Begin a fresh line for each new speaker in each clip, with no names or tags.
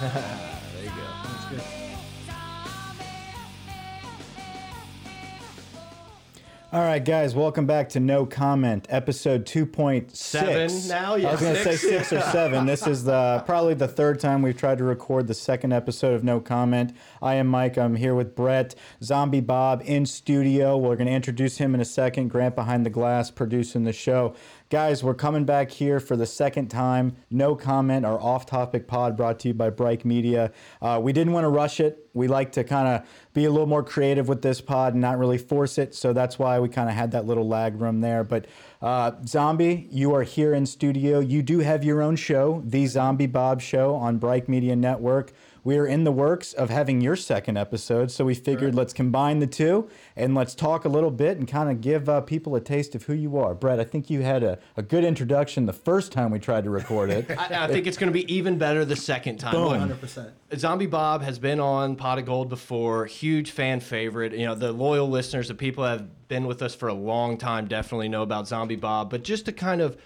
there you go.
That's good.
All right, guys, welcome back to No Comment, episode 2.6.
Seven now?
I
Yeah,
was going to say
six.
six or seven. This is the probably the third time we've tried to record the second episode of No Comment. I am Mike. I'm here with Brett, Zombie Bob in studio. We're going to introduce him in a second. Grant behind the glass producing the show. Guys, we're coming back here for the second time. No Comment, our off-topic pod brought to you by Brike Media. Uh, we didn't want to rush it. We like to kind of be a little more creative with this pod and not really force it. So that's why we kind of had that little lag room there. But uh, Zombie, you are here in studio. You do have your own show, The Zombie Bob Show on Bright Media Network. We are in the works of having your second episode. So we figured let's combine the two and let's talk a little bit and kind of give uh, people a taste of who you are. Brett, I think you had a, a good introduction the first time we tried to record it.
I, I think it's going to be even better the second time. Look,
100%.
Zombie Bob has been on Pot of Gold before, huge fan favorite. You know, the loyal listeners, the people that have been with us for a long time definitely know about Zombie Bob. But just to kind of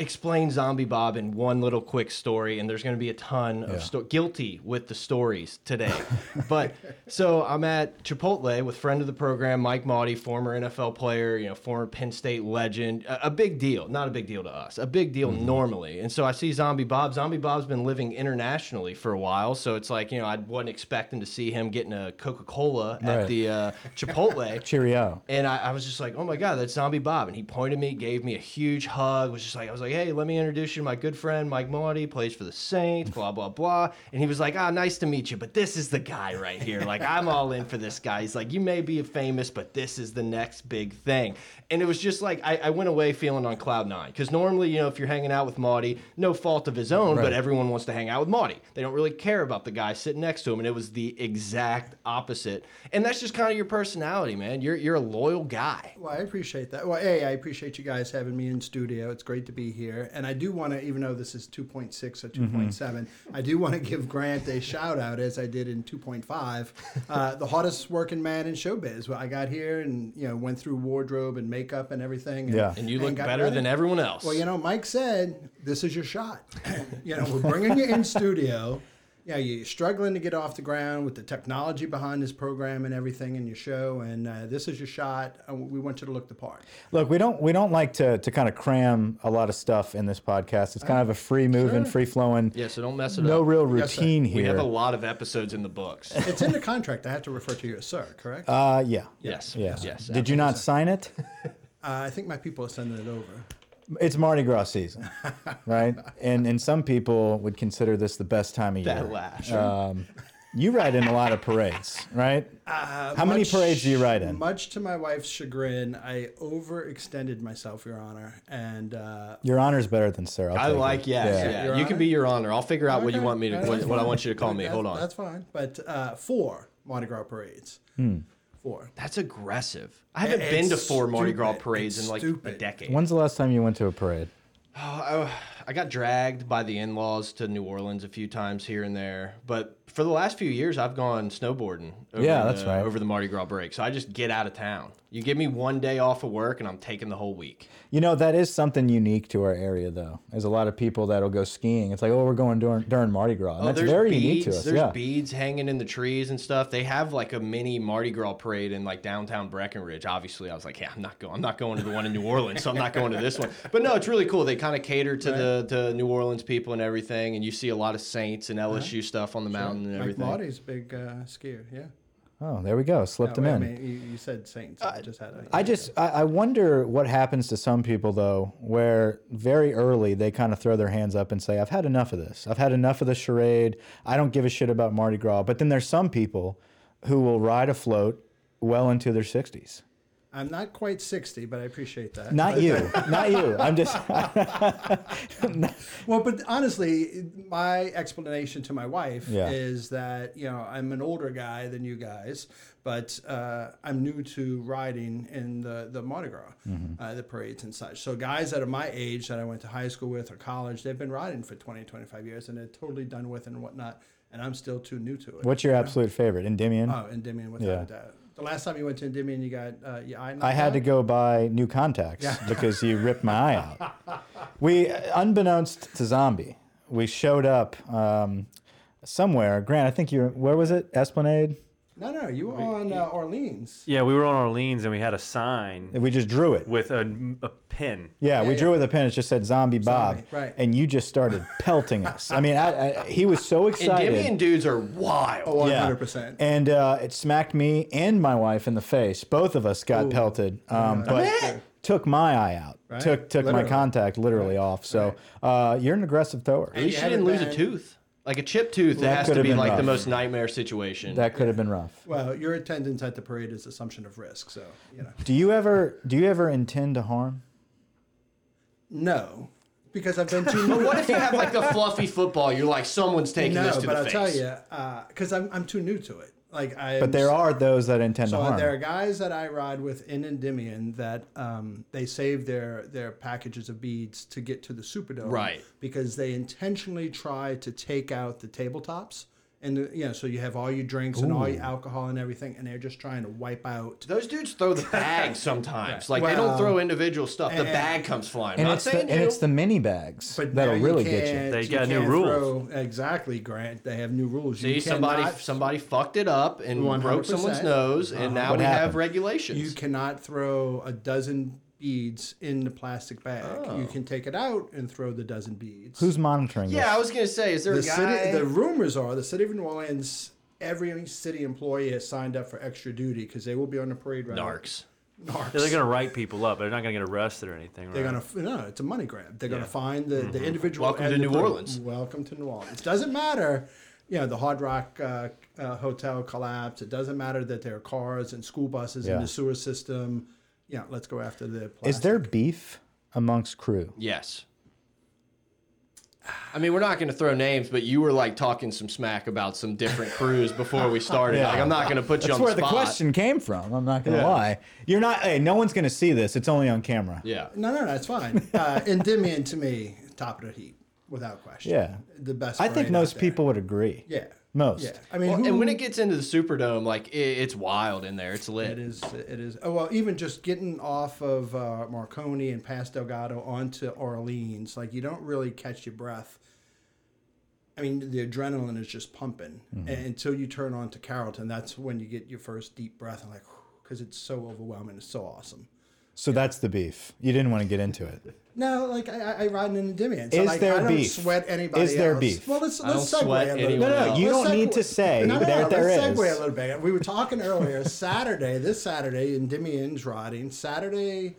explain Zombie Bob in one little quick story, and there's going to be a ton of sto- guilty with the stories today. but so I'm at Chipotle with friend of the program, Mike Maudie, former NFL player, you know, former Penn State legend. A, a big deal, not a big deal to us, a big deal normally. And so I see Zombie Bob. Zombie Bob's been living internationally for a while, so it's like you know I wasn't expecting to see him getting a Coca Cola at
Right.
the uh, Chipotle.
Cheerio.
And I, I was just like, oh my God, that's Zombie Bob. And he pointed me, gave me a huge hug, was just like, I was like, hey, let me introduce you to my good friend, Mike Moody, plays for the Saints, blah, blah, blah. And he was like, ah, nice to meet you, but this is the guy right here. Like, I'm all in for this guy. He's like, you may be famous, but this is the next big thing. And it was just like, I, I went away feeling on cloud nine. Because normally, you know, if you're hanging out with Maudie, no fault of his own, but
Right.
everyone wants to hang out with Maudie. They don't really care about the guy sitting next to him, and it was the exact opposite. And that's just kind of your personality, man. You're you're a loyal guy.
Well, I appreciate that. Well, hey, I appreciate you guys having me in studio. It's great to be here. And I do want to, even though this is 2.6 or 2.7, I do want to give Grant a shout out, as I did in 2.5, uh, the hardest working man in showbiz. Well, I got here and, you know, went through wardrobe and makeup and everything.
Yeah.
And you look
got
better
ready.
than everyone else.
Well, you know, Mike said this is your shot. you know, we're bringing you in studio. Yeah, you're struggling to get off the ground with the technology behind this program and everything in your show, and uh, this is your shot. Uh, We want you to look the part.
Look, we don't we don't like to to kind of cram a lot of stuff in this podcast. It's kind of a free moving, free flowing.
yeah, so don't mess it
No
up.
real
Yes, sir.
routine
we
here.
have a lot of episodes in the books.
It's in the contract. I have to refer to you as sir, correct? Uh,
uh, yeah.
yes.
Yeah.
Yes.
Did you not sign it?
Uh, I think my people are sending it over.
It's Mardi Gras season, right? And and some people would consider this the best time of
that
year.
lash?
You ride in a lot of parades, right?
Uh,
How many
Much-
parades do you ride in?
Much to my wife's chagrin, I overextended myself, Your Honor, and uh,
Your honor's better than sir. I'll
I
take it.
like yes. Yeah.
Your
You
honor?
can be your honor. I'll figure out what you
Okay,
want me to
that's
what, what I want you to call me.
that's-
Hold on.
That's fine. But uh, four Mardi Gras parades.
Hmm.
Four.
That's aggressive. I haven't
It's
been to four Mardi Gras
stupid.
parades
It's
in like a
stupid.
decade.
When's the last time you went to a parade?
I, I got dragged by the in-laws to New Orleans a few times here and there, but for the last few years, I've gone snowboarding. Over
Yeah,
the,
that's right.
Over the Mardi Gras break, so I just get out of town. You give me one day off of work, and I'm taking the whole week.
You know that is something unique to our area, though. There's a lot of people that'll go skiing. It's like, oh, we're going during, during Mardi Gras. And that's
Oh, there's
very
beads,
unique to us.
There's
yeah.
beads hanging in the trees and stuff. They have like a mini Mardi Gras parade in like downtown Breckenridge. Obviously, I was like, yeah, I'm not going. I'm not going to the one in New Orleans, so I'm not going to this one. But no, it's really cool. They kind of cater to the to New Orleans people and everything, and you see a lot of Saints
Uh-huh.
and LSU stuff on the mountain and
Mike
everything.
Marty's a big uh, skier. Yeah.
Oh, there we go. Slipped them
Wait,
in.
I mean, you, you said Saints. I just had. A,
I just I, I wonder what happens to some people though, where very early they kind of throw their hands up and say, "I've had enough of this. I've had enough of the charade. I don't give a shit about Mardi Gras." But then there's some people who will ride afloat well into their 60s.
I'm not quite sixty, but I appreciate that.
Not you, not you. I'm just
Well, but honestly, my explanation to my wife
Yeah.
is that you know I'm an older guy than you guys, but uh, I'm new to riding in the the Mardi Gras,
Mm-hmm.
uh, the parades and such. So guys that are my age that I went to high school with or college, they've been riding for 20, 25 years, and they're totally done with and whatnot. And I'm still too new to it.
What's your absolute favorite? Endymion.
Oh, Endymion, without
Yeah.
a doubt. The last time you went to Endymion, you got uh, your eye.
I had to go buy new contacts because you ripped my eye out. We, unbeknownst to Zombie, we showed up um, somewhere. Grant, I think you're. Where was it? Esplanade.
No, no, you were on uh, Orleans.
Yeah, we were on Orleans and we had a sign
We just drew it.
with a, a pin.
Yeah, we
yeah.
drew with a pen. It just said "Zombie Bob,"
Zombie, right.
and you just started pelting us. I mean, I, I, he was so
And
excited. Oh,
Demi and dudes are wild.
One
Yeah.
hundred percent.
And uh, it smacked me and my wife in the face. Both of us got pelted, um, but took my eye out. Took took
Literally.
my contact literally off. So uh, you're an aggressive thrower.
At least
you
she
had
didn't
it
lose a
back.
tooth. Like a chip tooth,
that
that has
could
to
have
be
been
like the
rough.
most nightmare situation.
That could have been rough.
Well, your attendance at the parade is assumption of risk, so you know.
Do you ever do you ever intend to harm?
No, because I've been too.
what if you have like the fluffy football? You're like, someone's taking
no,
this to
but
the
I'll
face.
tell you, because I'm I'm too new to it. Like I.
But there are those that intend to
So
harm.
there are guys that I ride with in Endymion that um, they save their their packages of beads to get to the Superdome,
Right.
Because they intentionally try to take out the tabletops, and the, you know, so you have all your drinks and all your alcohol and everything, and they're just trying to wipe out.
Those dudes throw the bag sometimes. Like they don't
Well,
throw individual stuff. The
and-
bag comes flying.
and
Not
it's the,
saying
and
you.
it's the mini bags
But
that'll
now you
really get you.
can't-
They got new
can't
rules.
throw- exactly, Grant. They have new rules.
See, somebody
cannot-
somebody fucked it up and broke
100%.
someone's nose, and now
Uh-huh. What
we
happened?
have regulations.
You cannot throw a dozen beads in the plastic bag. You can take it out and throw the dozen beads.
Oh. Who's monitoring
yeah, I was gonna say, is there
the
a guy?
city? The rumors are the city of New Orleans. Every city employee has signed up for extra duty because they will be on the parade route.
Narcs.
Narcs.
Yeah, they're gonna write people up. They're not gonna get arrested or anything.
They're
right?
gonna f- no. It's a money grab. They're gonna find the, the individual.
Welcome
and
to
the
New
group.
Orleans.
Welcome to New Orleans. Doesn't matter. You know the Hard Rock uh, uh, hotel collapsed. It doesn't matter that there are cars and school buses
Yeah.
in the sewer system. Yeah, let's go after the. Plastic.
Is there beef amongst crew?
Yes. I mean, we're not going to throw names, but you were like talking some smack about some different crews before we started.
Yeah.
Like, I'm not going to put you
That's
on
where
the
the
spot.
question came from. I'm not gonna lie. You're not. Hey, no one's gonna see this. It's only on camera.
Yeah.
No, no, no. It's fine. Uh, Endymion to me, top of the heap, without question.
Yeah.
the best.
I think
parade out
most
there.
people would agree.
Yeah.
Most.
Yeah. I mean,
Well,
who-
and when it gets into the Superdome, like it, it's wild in there. It's
It
lit.
is. It is. Oh, well, even just getting off of uh, Marconi and past Delgado onto Orleans, like you don't really catch your breath. I mean, the adrenaline is just pumping and until you turn on to Carrollton. That's when you get your first deep breath and like, because it's so overwhelming. It's so awesome.
So that's the beef. You didn't want to get into it.
No, like I, I- I ride in Endymion. So
Is
like,
there
I don't
beef?
sweat anybody.
Is there
else.
beef?
Well, let's,
I
let's
don't
segue
sweat
a little
anyone No,
bit.
no, else.
you
Let's
don't need to say
no, no,
that
no,
there
let's
is.
segue a little bit. We were talking earlier. Saturday, this Saturday, Endymion's riding. Saturday,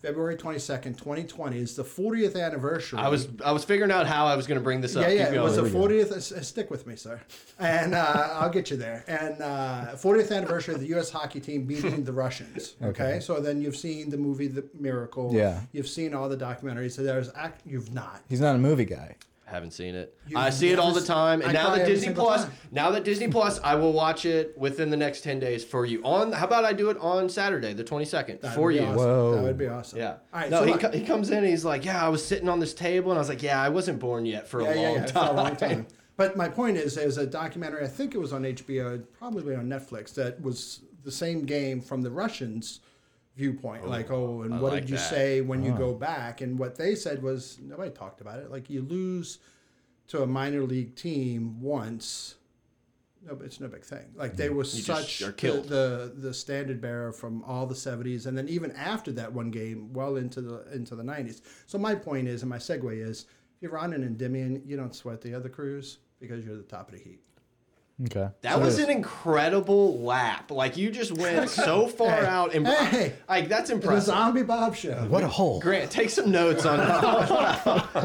February twenty second, twenty twenty, is the fortieth anniversary.
I was I was figuring out how I was going to bring this up.
Yeah, yeah.
Keep
It
going.
was the fortieth. Stick with me, sir, and uh, I'll get you there. And uh, fortieth anniversary of the U.S. hockey team beating the Russians. Okay? so then you've seen the movie The Miracle.
Yeah.
you've seen all the documentaries. So there's act. You've not.
He's not a movie guy.
Haven't seen it.
You
I see it all the
never-
time, and
I
now
cry
that
every
Disney
single
Plus,
time.
now that Disney Plus, I will watch it within the next ten days for you. On how about I do it on Saturday, the twenty second,
That'd
for
be
you.
awesome.
Whoa.
That would be awesome.
Yeah.
All right.
no,
so
he,
look,
co- he comes in and he's like, "Yeah, I was sitting on this table," and I was like, "Yeah, I wasn't born yet for a
yeah,
long
yeah, yeah, for
time."
a long time. But my point is, there's a documentary. I think it was on HBO, probably on Netflix, that was the same game from the Russians' viewpoint. like, oh, and
I
what
like
did you
that.
say when you go back? And what they said was nobody talked about it. Like, you lose to a minor league team once. No, but it's no big thing. Like they were
just
such
are
the-
killed.
The, the standard bearer from all the seventies, and then even after that one game, well into the into the nineties. So my point is, and my segue is, if you're on an Endymion, you don't sweat the other crews because you're the top of the heap.
Okay.
That was an incredible lap. Like you just went so far
Hey,
out, and
hey.
like that's
The
impressive.
Zombie Bob Show.
What a hole.
Grant, take some notes on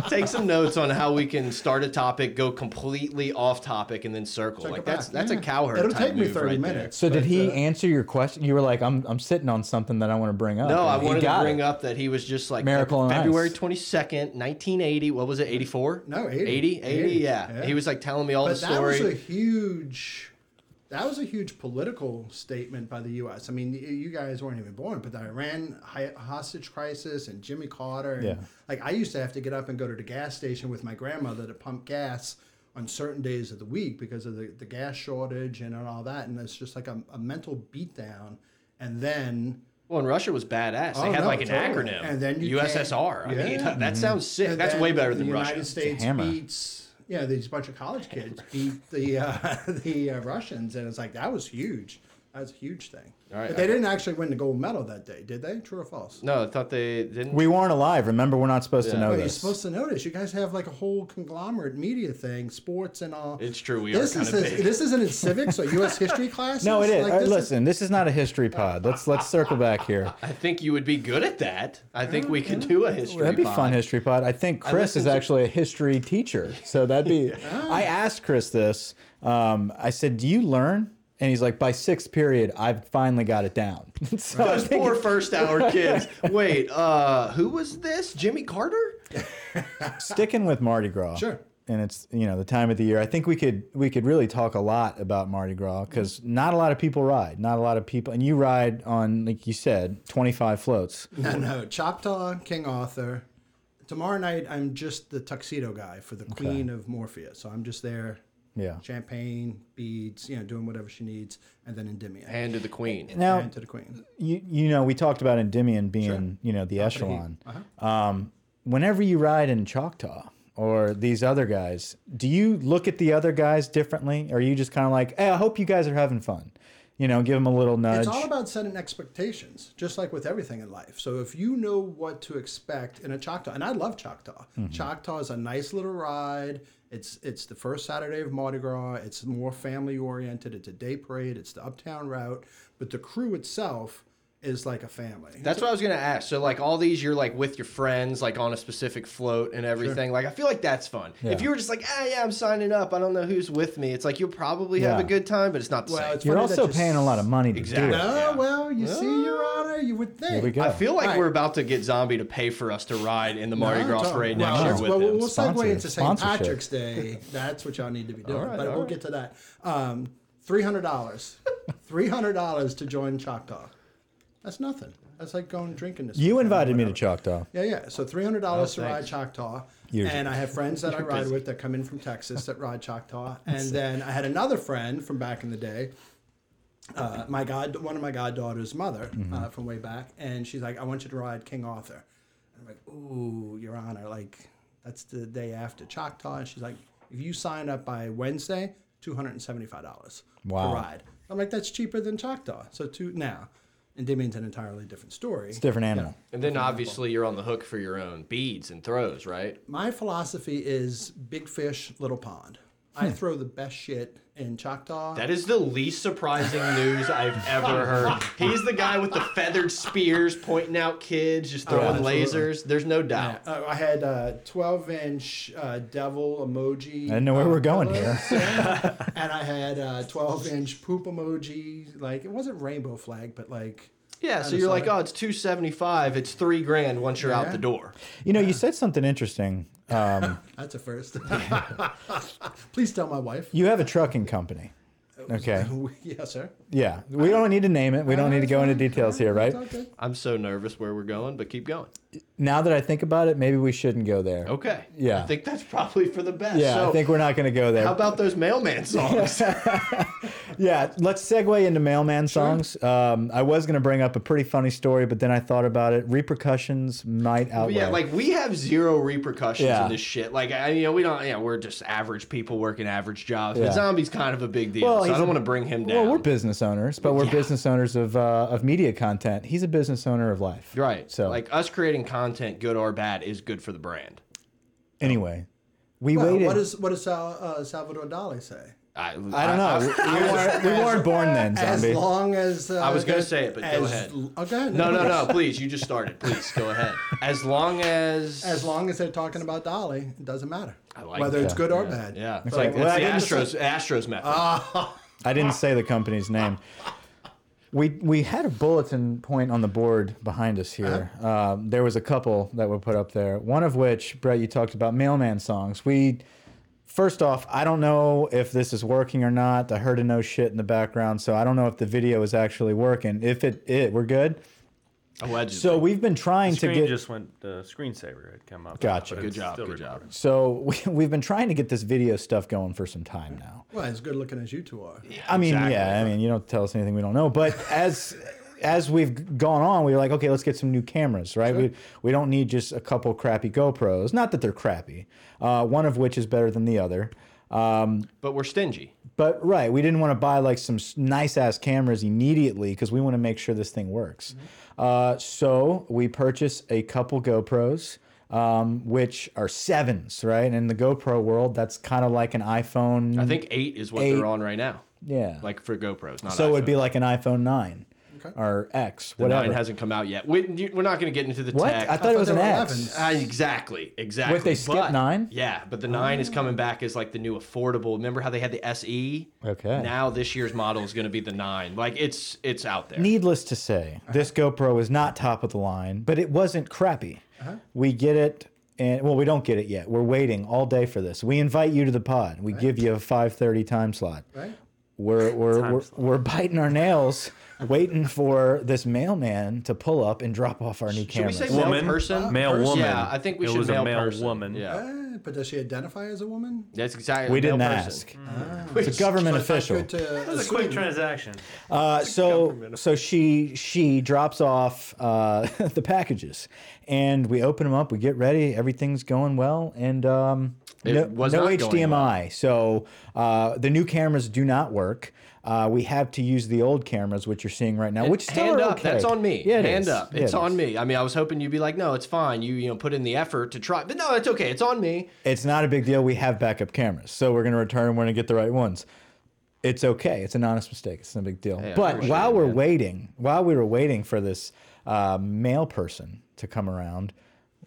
take some notes on how we can start a topic, go completely off topic, and then circle.
Check
like
it
that's
back.
that's a
Yeah.
cowherd.
It'll
type
take me
move
thirty
right there.
minutes.
So did
but,
he
uh,
answer your question? You were like, I'm, I'm sitting on something that I want to bring up.
No, I
And he
wanted to
got
bring
it.
up that he was just like
Miracle on
February
Ice.
twenty second, nineteen eighty. What was it? Eighty four?
No, 80.
80, 80,
80,
yeah.
yeah.
He was like telling me all
But
the
that was
story.
a huge. That was a huge political statement by the U.S. I mean, y- you guys weren't even born, but the Iran hi- hostage crisis and Jimmy Carter. And,
Yeah.
Like I used to have to get up and go to the gas station with my grandmother to pump gas on certain days of the week because of the, the gas shortage and, all that. And it's just like a, a mental beatdown. And then
well, and Russia was badass. They
Oh,
had
no,
like an
totally.
acronym,
And then you
USSR.
can't-
I mean,
Yeah.
that sounds sick.
and
That's
then
way better
the
than
United
Russia.
States
hammer.
beats yeah, these bunch of college kids beat the uh, the uh, Russians, and it's like that was huge. That was a huge thing.
All right,
but they
I-
didn't actually win the gold medal that day, did they? True or false?
No, I thought they didn't.
We weren't alive. Remember, we're not supposed to
Yeah.
know
But
this.
you're supposed to notice. You guys have like a whole conglomerate media thing, sports and all.
It's true, we are
this
kinda
is
big.
This isn't in civics or U.S. history class.
no, it is. Uh,
this
Listen, this is not a history pod. Let's let's circle back here.
I think you would be good at that. I think we could do a history.
That'd be
pod.
fun history pod. I think Chris
listened
is
to- Ah.
actually a history teacher, so that'd be. I asked Chris this. Um, I said, "Do you learn?" And he's like, "By sixth period, I've finally got it down." so I
Those
think
poor first hour kids. Wait, uh, who was this? Jimmy Carter?
sticking with Mardi Gras.
Sure.
And it's you know the time of the year. I think we could we could really talk a lot about Mardi Gras because not a lot of people ride, not a lot of people, and you ride on like you said, twenty five floats.
Mm-hmm.
No, no. Choctaw, King Arthur. Tomorrow night, I'm just the tuxedo guy for the Queen of Morphia. So I'm just there,
Yeah.
champagne, beads, you know, doing whatever she needs, and then Endymion.
Hand to the Queen.
Now
And to the Queen.
you you know we talked about Endymion being you know the echelon.
Uh-huh.
Um, whenever you ride in Choctaw or these other guys, do you look at the other guys differently? Or are you just kind of like, hey, I hope you guys are having fun? You know, give them a little nudge.
It's all about setting expectations, just like with everything in life. So if you know what to expect in a Choctaw, and I love Choctaw.
Mm-hmm.
Choctaw is a nice little ride. It's it's the first Saturday of Mardi Gras. It's more family oriented. It's a day parade. It's the uptown route, but the crew itself is like a family.
That's what I was gonna ask. So like all these, you're like with your friends, like on a specific float and everything. Like I feel like that's fun. If you were just like, ah, yeah, I'm signing up. I don't know who's with me. It's like you'll probably have a
Yeah.
good time, but it's not the same.
You're
funny that
also paying a lot of money to
Exactly.
do it.
No,
Yeah.
well, you see, Your Honor, you would think.
There we go.
I feel like
Right.
we're about to get Zombie to pay for us to ride in the Mardi
No,
Gras
don't-
parade
well,
next year with
well,
him.
We'll
Sponsor-
segue into St.
sponsorship.
Patrick's Day. That's what y'all need to be doing.
right,
but
all
we'll
right.
get to that. Um, three hundred dollars. three hundred dollars to join Choctaw. That's nothing. That's like going drinking this.
You
weekend or
invited me to
whatever.
Choctaw.
Yeah, yeah. So three hundred dollars to ride
thanks.
Choctaw,
Usually.
and I have friends that I ride
busy.
with that come in from Texas that ride Choctaw, and then I had another friend from back in the day. Uh, my god, one of my goddaughter's mother
Mm-hmm.
uh, from way back, and she's like, "I want you to ride King Arthur," and I'm like, "Ooh, Your Honor, like that's the day after Choctaw," and she's like, "If you sign up by Wednesday, two hundred and seventy-five dollars
Wow.
to ride." I'm like, "That's cheaper than Choctaw." So two now, and Dimian's an entirely different story.
It's a different animal.
And then obviously you're on the hook for your own beads and throws, right?
my philosophy is big fish, little pond. I
Hmm.
throw the best shit in Choctaw.
That is the least surprising news I've ever heard. He's the guy with the feathered spears pointing out kids, just throwing
absolutely.
lasers. There's no doubt.
uh, I had a 12 inch uh, devil emoji.
I didn't know where
uh,
we're going
pillows, and I had a 12 inch poop emoji. Like, it wasn't rainbow flag, but like,
Yeah, so you're like, oh, it's two seventy five. It's three grand once you're out
Yeah.
the door.
You know, you said something interesting. Um,
that's a first. Please tell my wife.
you have a trucking company. Okay.
yes, sir.
Yeah. We don't need to name it. We don't need to go into details here, right?
Okay.
I'm so nervous where we're going, but keep going.
Now that I think about it, maybe we shouldn't go there.
Okay.
Yeah.
I think that's probably for the best.
Yeah,
so
I think we're not going to go there.
how about those mailman songs?
yeah, let's segue into mailman songs. Um, I was going to bring up a pretty funny story, but then I thought about it. Repercussions might outweigh.
yeah, like we have zero repercussions
Yeah.
in this shit. Like I you know, we don't yeah, we're just average people working average jobs.
Yeah.
But zombie's kind of a big deal.
Well,
so
he's
I
a-
don't want to bring him down.
Well, we're business owners, but we're
Yeah.
business owners of uh, of media content. He's a business owner of life.
Right.
So,
So, like us creating content, good or bad, is good for the brand.
anyway, we
Well,
waited.
what, is, what does Sal, uh, Salvador Dali say?
I
I,
don't know. we, we weren't, we weren't born then,
As
zombie.
long as. Uh, I
was gonna say it, but go ahead.
Oh, go ahead.
No, no, no. Please, you just started. Please go ahead. As long as
As long as they're talking about Dolly, it doesn't matter.
I like
Whether
that.
it's good or
yeah,
bad.
yeah, it's
Right.
like
Well, I
that's
didn't Ah,
the Astros Astros method.
I didn't say the company's name. We, we had a bulletin point on the board behind us here. Um, there was a couple that were put up there. One of which, Brett, you talked about mailman songs. We first off, I don't know if this is working or not. I heard a no shit in the background, so I don't know if the video is actually working. If it, it we're good.
Allegedly.
So we've been trying to
Screen
get
just went. The screensaver had come up.
Gotcha.
but
good
it's
job.
still
Good job.
recording.
so we, we've been trying to get this video stuff going for some time now.
Well, as good looking as you two are.
I mean,
Exactly.
yeah, I mean, you don't tell us anything we don't know. But as as we've gone on, we were like, okay, let's get some new cameras, right? We we don't need just a couple crappy GoPros. Not that they're crappy, uh, one of which is better than the other. Um,
but we're stingy.
but right, we didn't want to buy like some nice ass cameras immediately because we want to make sure this thing works. Uh, so we purchased a couple GoPros, um, which are sevens, right? And in the GoPro world, that's kind of like an iPhone.
I think eight is what
Eight.
they're on right now.
yeah.
Like for GoPros, not
so it would
iPhone.
be like an iPhone nine or X, whatever.
Nine hasn't come out yet. We, you- we're not going to get into the
what?
tech.
I thought it was
thought
an
they were
X.
11s.
Uh, exactly, exactly.
Wait, they skipped
But-
nine?
Yeah, but the nine is coming back as like the new affordable. Remember how they had the SE?
Okay.
Now this year's model is going to be the nine. Like it's it's out there.
Needless to say,
Uh-huh.
this GoPro is not top of the line, but it wasn't crappy.
Uh-huh.
We get it, and well, we don't get it yet. We're waiting all day for this. We invite you to the pod. We give you a five thirty time slot.
Right.
We're we're we're, we're biting our nails, waiting for this mailman to pull up and drop off our new
Should we
cameras.
say male
Woman,
person?
male
Person?
woman.
Yeah, I think we
it
should
was
male
a male
person.
woman.
Yeah,
Uh, but does she identify as a woman?
that's exactly.
we
male
didn't
person.
ask.
Mm.
It's a government
So it's not
official.
good to
That was a
assume.
quick transaction.
Uh, so so she she drops off uh, the packages, and we open them up. We get ready. Everything's going well, and um,
It
no,
was
no
not going
HDMI. So uh, the new cameras do not work. Uh, we have to use the old cameras, which you're seeing right now, which still
Hand
are
up,
okay.
that's on me.
Yeah, it
Hand
is.
up,
Yeah,
it's
it
on
is.
me. I mean, I was hoping you'd be like, no, it's fine. You you know put in the effort to try, but no, it's okay. It's on me.
It's not a big deal. We have backup cameras, so we're gonna return. We're gonna get the right ones. It's okay. It's an honest mistake. It's not a big deal.
I
but
appreciate
while
it,
we're
man.
waiting, while we were waiting for this uh, mail person to come around,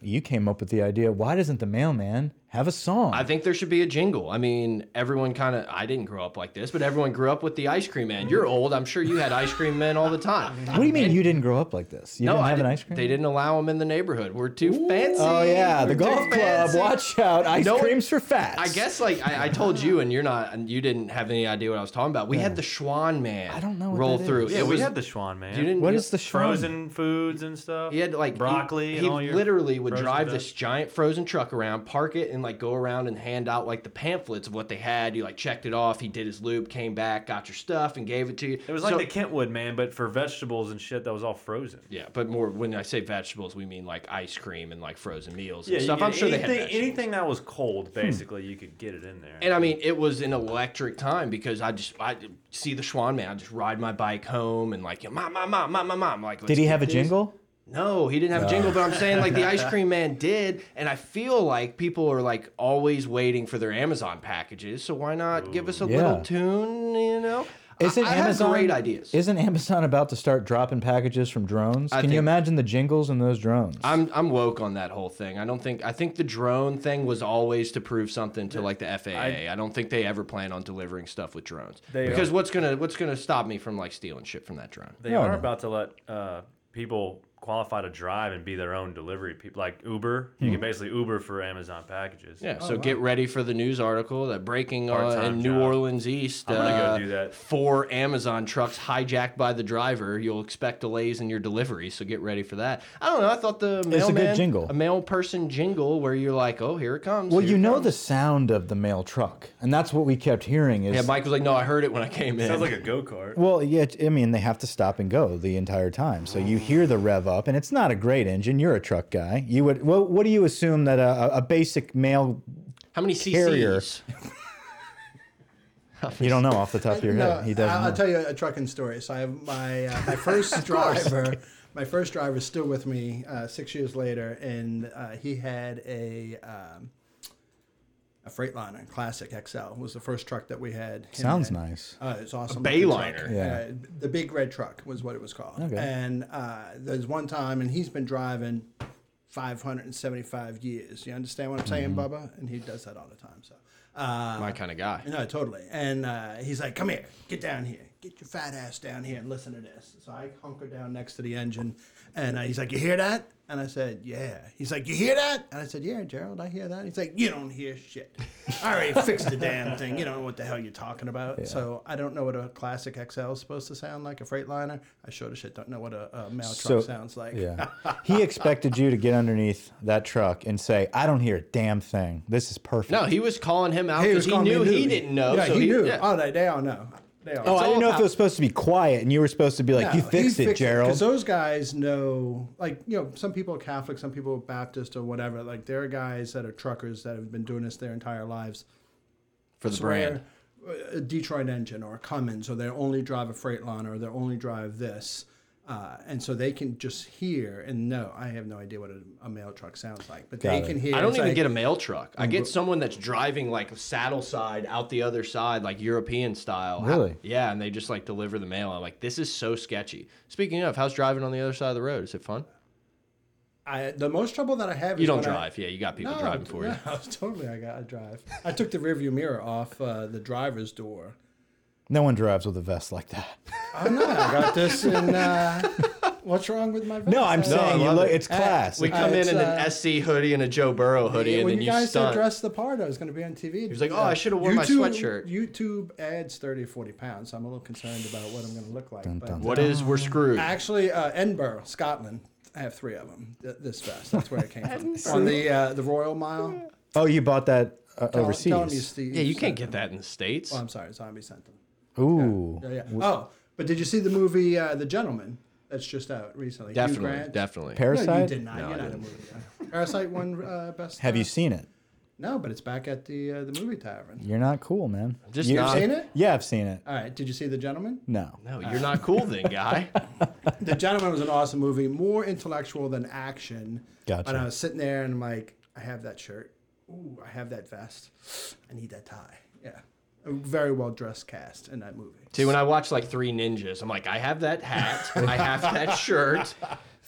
you came up with the idea. Why doesn't the mailman have a song?
I think there should be a jingle. I mean, everyone kind of, I didn't grow up like this, but everyone grew up with the ice cream man. You're old. I'm sure you had ice cream men all the time.
what do you mean you didn't grow up like this? You didn't
I
have an
didn't-
ice cream?
They didn't allow them in the neighborhood. We're too fancy.
Oh yeah,
We're
the
too
golf club.
fancy.
Watch out! Ice
No-
creams for fats.
I guess like I, I told you, and you're not, and you didn't have any idea what I was talking about. We had the Schwan man. I
don't know what
roll
that
through.
is.
Yeah,
Yeah,
we
we
was,
had the Schwan man.
You didn't.
What
you-
is the Schwan?
frozen foods and stuff.
He had like he-
broccoli.
He,
and all your
literally would
frozen
drive
veg-
this giant frozen truck around, park it, and like go around and hand out like the pamphlets of what they had. You like checked it off. He did his loop, came back, got your stuff, and gave it to you.
It was like
So-
the Kentwood man, but for vegetables and shit that was all frozen.
yeah, but more when I say vegetables, we mean like ice cream and like frozen meals and
you
stuff.
could-
I'm sure they had
anything,
vegetables.
anything that was cold, basically, you could get it in there.
And I mean, it was an electric time because I just I see the Schwan man. I just ride my bike home and like mom, mom, mom, mom, mom, mom. Like,
Did he have a jingle?
No, he didn't have a jingle, but I'm saying like the ice cream man did, and I feel like people are like always waiting for their Amazon packages, so why not give us a
Yeah.
little tune, you know? I-
Isn't
I,
Amazon
have great ideas.
Isn't Amazon about to start dropping packages from drones? Can you
think-
imagine the jingles in those drones?
I'm I'm woke on that whole thing. I don't think I think the drone thing was always to prove something to like the FAA. I, don't think they ever plan on delivering stuff with drones.
They
because what's gonna what's gonna stop me from like stealing shit from that drone?
They
No,
are
no.
about to let uh, people qualify to drive and be their own delivery people, like Uber.
Hmm.
You can basically Uber for Amazon packages.
Yeah, so get ready for the news article that breaking uh,
Part-time
in New
job.
Orleans East.
I'm gonna go
uh,
do that.
Four Amazon trucks hijacked by the driver. You'll expect delays in your delivery, so get ready for that. I don't know. I thought the
a
mailman,
good jingle.
a mail person jingle, where you're like, oh, here it comes.
Well,
here
you
it
know
comes.
the sound of the mail truck, and that's what we kept hearing. Is
Yeah, Mike was like, no, I heard it when I came in.
Sounds like a go kart.
well, yeah. I mean, they have to stop and go the entire time, so you hear the rev up, and it's not a great engine. You're a truck guy. You would. Well, what do you assume that a, a basic mail?
How many CCs?
Carrier. You don't know off the top of your head. He doesn't.
I'll,
know.
I'll tell you a trucking story. So I have my uh, my first driver. My first driver is still with me uh, six years later, and uh, he had a um, a Freightliner Classic XL was the first truck that we had. him
Sounds
in.
nice.
Uh, it's awesome.
Bayliner.
Truck.
Yeah.
Uh, the big red truck was what it was called.
Okay.
And uh, there's one time, and he's been driving 575 years. You understand what I'm saying,
Mm-hmm.
Bubba? And he does that all the time. So. Uh,
My kind of guy.
no, totally. And uh, he's like, "Come here, get down here, get your fat ass down here, and listen to this." So I hunker down next to the engine, and uh, he's like, "You hear that?" And I said, "Yeah." He's like, "You hear that?" And I said, "Yeah, Gerald, I hear that." He's like, "You don't hear shit. I already fixed the damn thing. You don't know what the hell you're talking about." So I don't know what a classic XL is supposed to sound like, a Freightliner. I sure as shit don't know what a, a mail
So-
truck sounds like.
Yeah. He expected you to get underneath that truck and say, "I don't hear a damn thing. This is perfect."
No, he was calling him out
He
because
was
he,
calling me
knew he
noob.
didn't know.
Yeah,
so
he, knew.
yeah.
Oh, they, they all know. They are.
Oh,
It's
I
all
didn't know if
about-
it was supposed to be quiet, and you were supposed to be like, "You fixed it,
Because
Gerald."
those guys know, like, you know, some people are Catholic, some people are Baptist or whatever. Like, there are guys that are truckers that have been doing this their entire lives.
for the brand.
Swear, A Detroit engine or a Cummins, or they only drive a Freightliner, or they only drive this. Uh, and so they can just hear and know. I have no idea what a, a mail truck sounds like, but they
Got it.
can hear.
I don't
it's
even
like- Mm-hmm.
get a mail truck. I get someone that's driving like saddle side out the other side, like European style. How-
Really?
yeah, and they just like deliver the mail. I'm like, this is so sketchy. Speaking of, how's driving on the other side of the road? Is it fun?
I, the most trouble that I have.
You
is
don't
when I-
drive. yeah, you got people driving for you.
no, totally. I got a drive. I took the rearview mirror off uh, the driver's door.
no one drives with a vest like that.
Oh no, I got this. And uh, what's wrong with my?
No, I'm
vest?
I
saying you
love
look,
it.
it's class.
We come
Uh,
in
it's,
in
uh,
an SC hoodie and a Joe Burrow hoodie, and
when
then
you
you,
guys said
stunt.
dress the part, I was going to be on TV. He
was like, "Oh, I should've worn my sweatshirt."
YouTube adds 30 40 pounds. I'm a little concerned about what I'm going to look like. but
dun.
What is we're screwed?
Actually, uh, Edinburgh, Scotland. I have three of them. Th- this vest. That's where it came from. On the uh, the Royal Mile.
oh, you bought that uh,
Tell- tell 'em you,
overseas?
Steve.
Yeah, you can't
sent
get
them.
that in the states.
Oh, I'm sorry. Zombie sent them.
Ooh,
Yeah, yeah. Oh, but did you see the movie uh, The Gentleman? That's just out recently. Hugh
Definitely,
Grant?
definitely.
Parasite.
No, you did not.
No,
You're
I
not a
didn't.
movie guy. Parasite won uh, best.
Have
uh,
you seen it?
No, but it's back at the uh, the movie tavern.
You're not cool, man.
Just
you,
not-
Seen it?
Yeah, I've seen it.
All right. Did you see The Gentleman?
No.
No, you're not cool then, guy.
The Gentleman was an awesome movie, more intellectual than action.
Gotcha.
And I was sitting there and I'm like, I have that shirt. Ooh, I have that vest. I need that tie. Yeah. A very well dressed cast in that movie.
See, when I watch like Three Ninjas, I'm like, I have that hat, I have that shirt.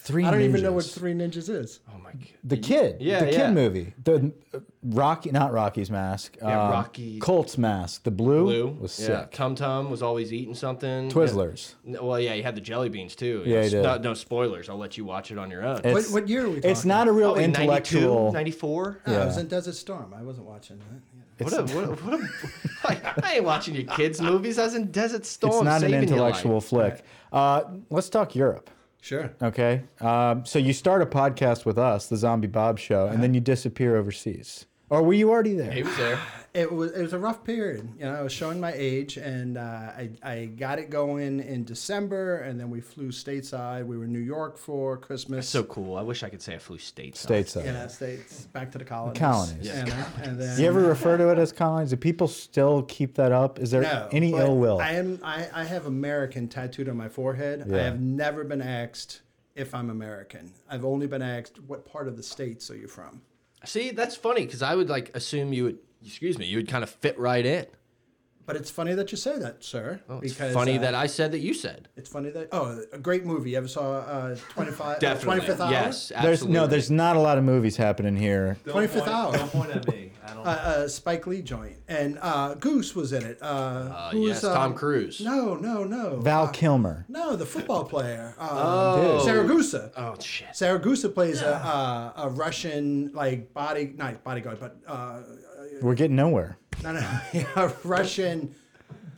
Three.
I don't even know
Ninjas.
what Three Ninjas is.
Oh my god.
The kid,
Yeah,
the kid
yeah.
movie, the uh, Rocky, not Rocky's mask,
Yeah,
um,
Rocky-
Colt's mask, the blue,
Blue
was sick.
yeah. Tum Tum was always eating something.
Twizzlers.
Yeah. N- Well, yeah, he had the jelly beans too. You
Yeah,
know,
he
s-
did.
No, no spoilers. I'll let you watch it on your own. Oh,
What,
It's-
what year are we talking?
It's not a real
Probably 92,
intellectual.
94.
No, I
Yeah.
was in Desert Storm. I wasn't watching that. Yeah.
What a, what a, what a, like, I ain't watching your kids' movies. I was in Desert Storm.
It's not an
saving your life.
intellectual flick. Uh, let's talk Europe.
Sure.
Okay. Um, so you start a podcast with us, the Zombie Bob Show, and then you disappear overseas. Or were you already there?
He was there.
It was it was a rough period. You know, I was showing my age, and uh, I I got it going in December, and then we flew stateside. We were in New York for Christmas.
So cool. I wish I could say I flew stateside.
Stateside.
yeah, states back to the colonies.
Colonies.
you know, and then,
Do you ever refer to it as colonies? Do people still keep that up? Is there
No,
any
but
ill will?
I am I, I have American tattooed on my forehead. I
Yeah.
have never been asked if I'm American. I've only been asked what part of the states are you from.
See, that's funny because I would like assume you would. Excuse me. You would kind of fit right in.
But it's funny that you say that, sir.
Oh, it's funny
uh,
that I said that you said.
it's funny that oh, a great movie. You ever saw uh, 25,
Definitely.
25th hour?
Yes. Absolutely.
there's no, there's not a lot of movies happening here.
Don't
25th hour.
Don't point at me. I don't.
uh, uh, Spike Lee joint, and uh, Goose was in it. Uh,
Uh,
who
yes,
was, um,
Tom Cruise.
No, no, no.
Val Kilmer.
no, the football player. Um,
Oh.
Saragusa.
Oh shit.
Saragusa plays a, uh, a Russian like body not bodyguard, but uh,
We're getting nowhere.
no, no, a Russian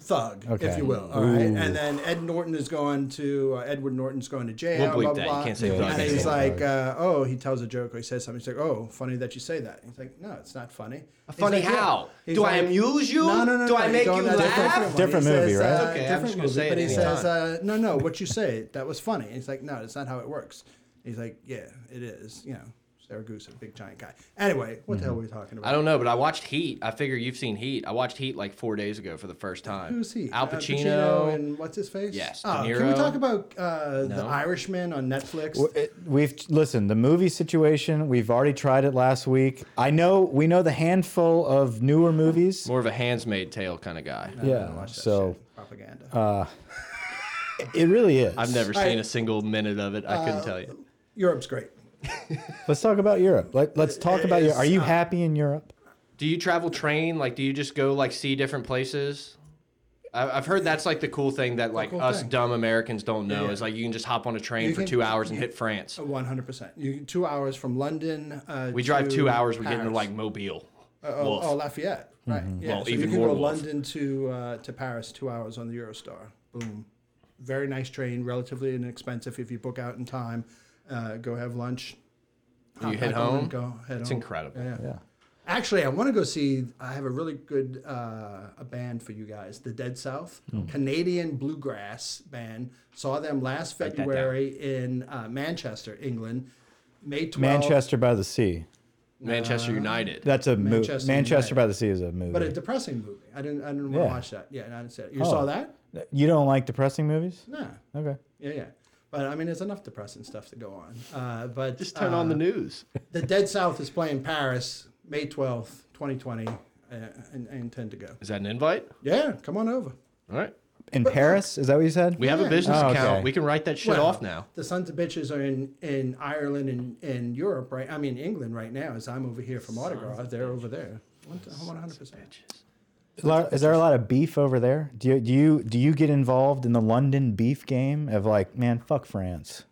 thug, if
Okay.
you will. All right, and then Ed Norton is going to uh, Edward Norton's going to jail.
We'll bleep
blah,
that. You
blah,
can't say
blah.
thug.
And
You
he's
can't
like, uh, oh, he tells a joke or he says something. He's like, oh, funny that you say that. He's like, no, it's not funny. He's
funny
like, yeah.
how?
He's
Do I amuse you?
No, no, no.
Do I
no,
make
don't-
you
that's a
laugh?
Different
different one. He says,
movie, right?
uh,
Okay, I'm
different
just gonna
movie,
say it
But he
anytime.
says, uh, no, no, what you say, that was funny. He's like, no, that's not how it works. He's like, yeah, it is. You know, Saragusa, big giant guy. Anyway, what the hell were we talking about?
I don't know, but I watched Heat. I figure you've seen Heat. I watched Heat like four days ago for the first time.
Who's he?
Al
Uh,
Pacino.
and what's his face?
Yes,
Oh,
De
can we
Niro.
talk about uh, the
No.
Irishman on Netflix?
Well, it- We've listen the movie situation. We've already tried it last week. I know we know the handful of newer movies.
More of a Handsmaid Tale kind of guy.
I don't
Yeah,
watch that
so uh,
shit. propaganda.
it really is.
I've never
All
seen
right. Uh,
a single minute of it. I couldn't tell you.
Europe's great.
Let's talk about Europe. Let, let's talk about Europe. Are you happy in Europe?
Do you travel train? Like, do you just go like see different places? I- I've heard that's like the cool thing that like
cool
us
thing.
dumb Americans don't know is like you can just hop on a train
You
for
can- Oh,
two hours and hit France.
uh, One hundred percent. You two hours from London. Uh,
We drive
to
two hours, we get into
Paris.
like Mobile.
Oh,
Wolf.
oh, Lafayette, right?
Mm-hmm.
Yeah,
Well,
so
even
you can
more
go
wolf.
London to uh, to Paris, two hours on the Eurostar. Boom, very nice train, relatively inexpensive if you book out in time. Uh, go have lunch.
You
hop
hit
back on and
home?
Go head
It's
home.
incredible.
Yeah, yeah.
Yeah.
Actually, I want to go see. I have a really good uh, a band for you guys, the Dead South,
Oh.
Canadian bluegrass band. Saw them last
that down.
February in uh, Manchester, England. May 12th.
Manchester by the Sea.
Manchester United.
That's a movie.
Manchester
Manchester,
United.
by the Sea is a movie.
But a depressing movie. I didn't. I didn't want
Yeah.
to watch that. Yeah, I didn't see it. You saw
Oh.
that?
you don't like depressing movies?
Nah.
Okay.
Yeah, yeah. But I mean, there's enough depressing stuff to go on. Uh, but
Just turn on the news.
the Dead South is playing Paris, May 12th, 2020. Uh, and I intend to go.
Is that an invite?
Yeah, come on over.
All right.
In Paris? Is that what you said?
We have a
Yeah.
business
Oh,
account.
okay.
We can write that shit
Well,
off now.
The sons of bitches are in, in Ireland and, and Europe, right? I mean, England right now, as I'm over here from Autograph. They're over there. One- 100%.
A lot- Is there a lot of beef over there? Do you, do you do you get involved in the London beef game of like, man, fuck France?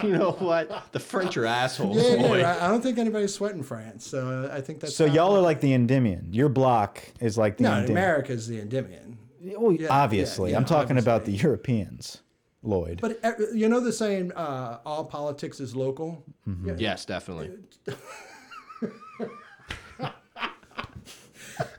You know what? The French are assholes,
Yeah, yeah,
boy.
right. I don't think anybody's sweating France. So I think that's.
So
how-
y'all are like the Endymion. Your block is like the
No,
Endymion.
America's the Endymion.
Well,
yeah,
obviously,
yeah,
I'm talking about the Europeans, Lloyd.
But uh, you know the saying, uh, all politics is local? Yeah.
Yes, definitely.
Hmm.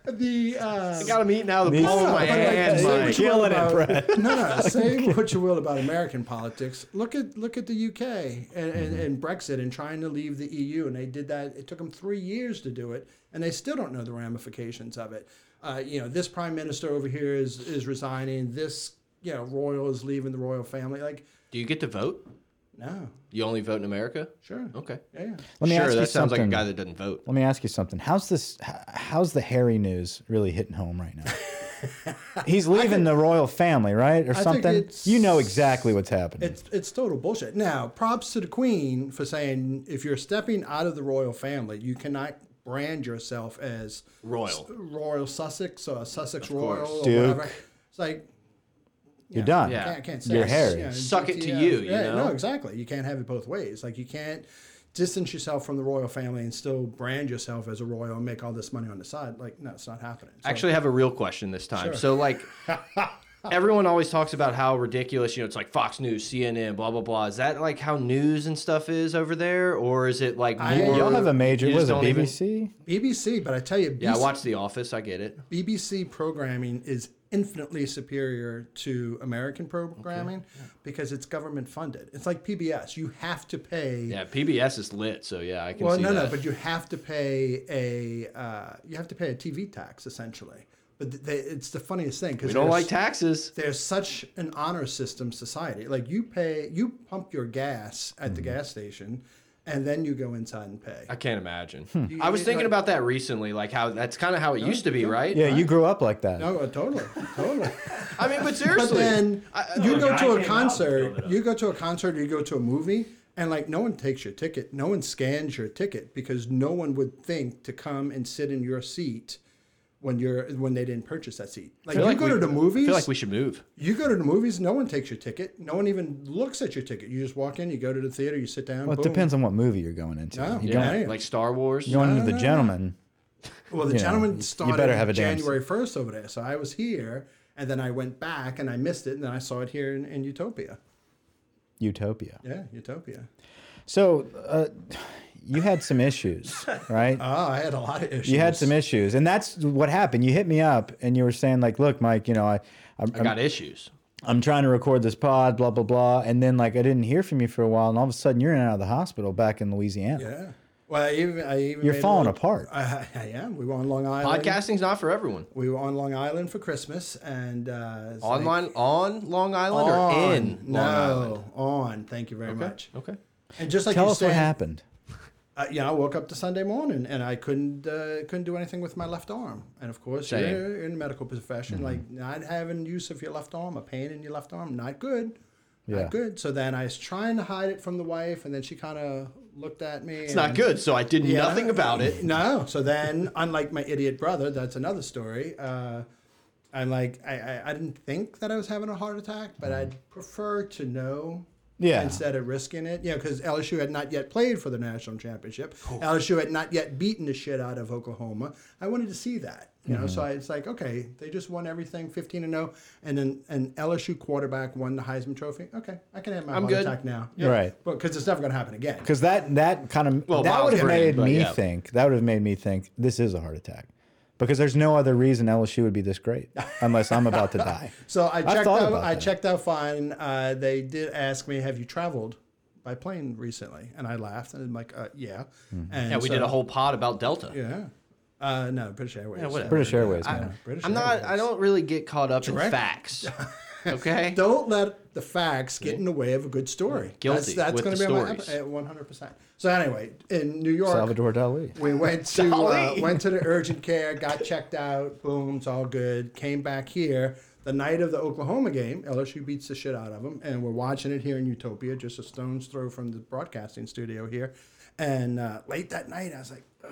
The. Uh,
I got them eating out of the
These-
palm of my
No, but like
hand,
that-
Mike.
Killing it,
about-
Brett.
no, no. Say what you will about American politics. Look at look at the UK and,
Mm-hmm.
and, and Brexit and trying to leave the EU, and they did that. It took them three years to do it, and they still don't know the ramifications of it. Uh, you know, this prime minister over here is is resigning. This you know royal is leaving the royal family. Like,
Do you get to vote?
no,
You only vote in America?
sure,
Okay.
yeah.
Let me
sure,
ask you
that sounds like a
something.
guy that doesn't vote.
Let me ask you something. How's this? h- How's the Harry news really hitting home right now? He's leaving the royal family, right, or
think
something.
it's-
You know exactly what's happening.
It's it's total bullshit. Now, props to the Queen for saying if you're stepping out of the royal family, you cannot brand yourself as
Royal.
Royal Sussex or Sussex
course.
Royal or
Duke.
whatever. It's like
You're done.
Yeah.
can't, can't say
You're
it.
Harry.
Suck it to
yeah,
you, you
yeah,
know?
no, exactly. You can't have it both ways. Like you can't distance yourself from the royal family and still brand yourself as a royal and make all this money on the side. Like no, it's not happening. So-
actually have a real question this time. So like everyone always talks about how ridiculous, you know, it's like Fox News, CNN, blah blah blah. Is that like how news and stuff is over there or is it like
I-
more-
Y'all have a major.
you
Was
just
it
don't even-
BBC?
BBC, but I tell you,
Yeah, I
BBC
watch The Office, I get it.
BBC programming is infinitely superior to American programming because it's government funded. It's like PBS. You have to pay.
Yeah, PBS is lit, so yeah, I can
well,
see
no,
that.
no, but you have to pay a uh, you have to pay a TV tax essentially. But th- they, it's the funniest thing because
we don't like taxes.
there's such an honor system society. Like you pay, you pump your gas at the gas station, and then you go inside and pay.
Mm-hmm. I can't imagine. I was thinking about that recently, like how that's kind of how it used to be, right?
Yeah, you grew up like that.
No, uh, totally, totally.
I mean, but
But
seriously,
then you
the
go to
guy came
a
out and
concert,
filled it
you go to a concert, you go to a movie, and like no one takes your ticket, no one scans your ticket because no one would think to come and sit in your seat when you're when they didn't purchase that seat. Like
I
you
feel like
go
we-
to
I
the movies,
feel like we should move.
you go to the movies, no one takes your ticket, no one even looks at your ticket. You just walk in, you go to the theater, you sit down.
Well, it
boom.
depends on what movie you're going into.
No,
you
Yeah,
don't,
Damn.
like Star Wars.
you're going into the gentleman.
Well,
you
the
know,
gentleman
you
started
better have a damn
January first over there, so I was here, and then I went back and I missed it, and then I saw it here in, in Utopia.
Utopia.
Yeah, Utopia.
So, uh, you had some issues, right?
Oh, I had a lot of issues.
You had some issues, and that's what happened. You hit me up, and you were saying like, "Look, Mike, you know, I, I'm,
I got issues.
I'm trying to record this pod, blah blah blah," and then like I didn't hear from you for a while, and all of a sudden you're in and out of the hospital back in Louisiana.
Yeah. Well, I even I even
You're
made a
falling
little-
apart.
I, I am. We were on Long Island.
Podcasting's not for everyone.
We were on Long Island for Christmas and uh, it's like-
Online on Long Island or in
no,
Long Island?
on. Thank you very much.
Okay.
And just like
Tell
you
us what
said,
happened.
Uh, yeah, I woke up to Sunday morning and I couldn't uh, couldn't do anything with my left arm. And of course,
Same.
you're in the medical profession,
Mm-hmm.
like not having use of your left arm, a pain in your left arm, not good.
Yeah.
Not good. So then I was trying to hide it from the wife, and then she kind of looked at me.
It's not good, so I did
Yeah.
nothing about it.
No. So then, unlike my idiot brother, that's another story. Uh, I'm like, I, I, I didn't think that I was having a heart attack, but I'd prefer to know
Yeah.
instead of risking it. You know, because LSU had not yet played for the national championship. LSU had not yet beaten the shit out of Oklahoma. I wanted to see that. You know, so
Mm-hmm.
I, it's like okay, they just won everything, fifteen and zero, and then an LSU quarterback won the Heisman Trophy. Okay, I can have my
I'm
heart
good.
attack now.
Right.
but because it's never going to happen again.
Because that that kind of
Well,
that
Bob's
would have
brain,
made
but
me
yeah.
think that would have made me think this is a heart attack, because there's no other reason LSU would be this great unless I'm about to die.
So I checked
thought
out.
about
I
that.
checked out fine. Uh, they did ask me, "Have you traveled by plane recently?" And I laughed, and I'm like, uh, "Yeah."
Mm-hmm.
And
Yeah, we
so-
did a whole pod about Delta.
Yeah. Uh, no, British Airways.
Yeah, whatever.
British Airways,
I,
man.
British
I'm not. I
Airways.
don't really get caught up in
Direct.
facts. Okay.
Don't let the facts get in the way of a good story.
Guilty
That's, that's
with
going to
the
be
stories.
my eh, one hundred percent. So anyway, in New York,
Salvador Dali.
we went to uh,
Dolly.
went to the urgent care, got checked out, boom, it's all good. Came back here the night of the Oklahoma game. LSU beats the shit out of them, and we're watching it here in Utopia, just a stone's throw from the broadcasting studio here. And uh, late that night, I was like, "Ugh,"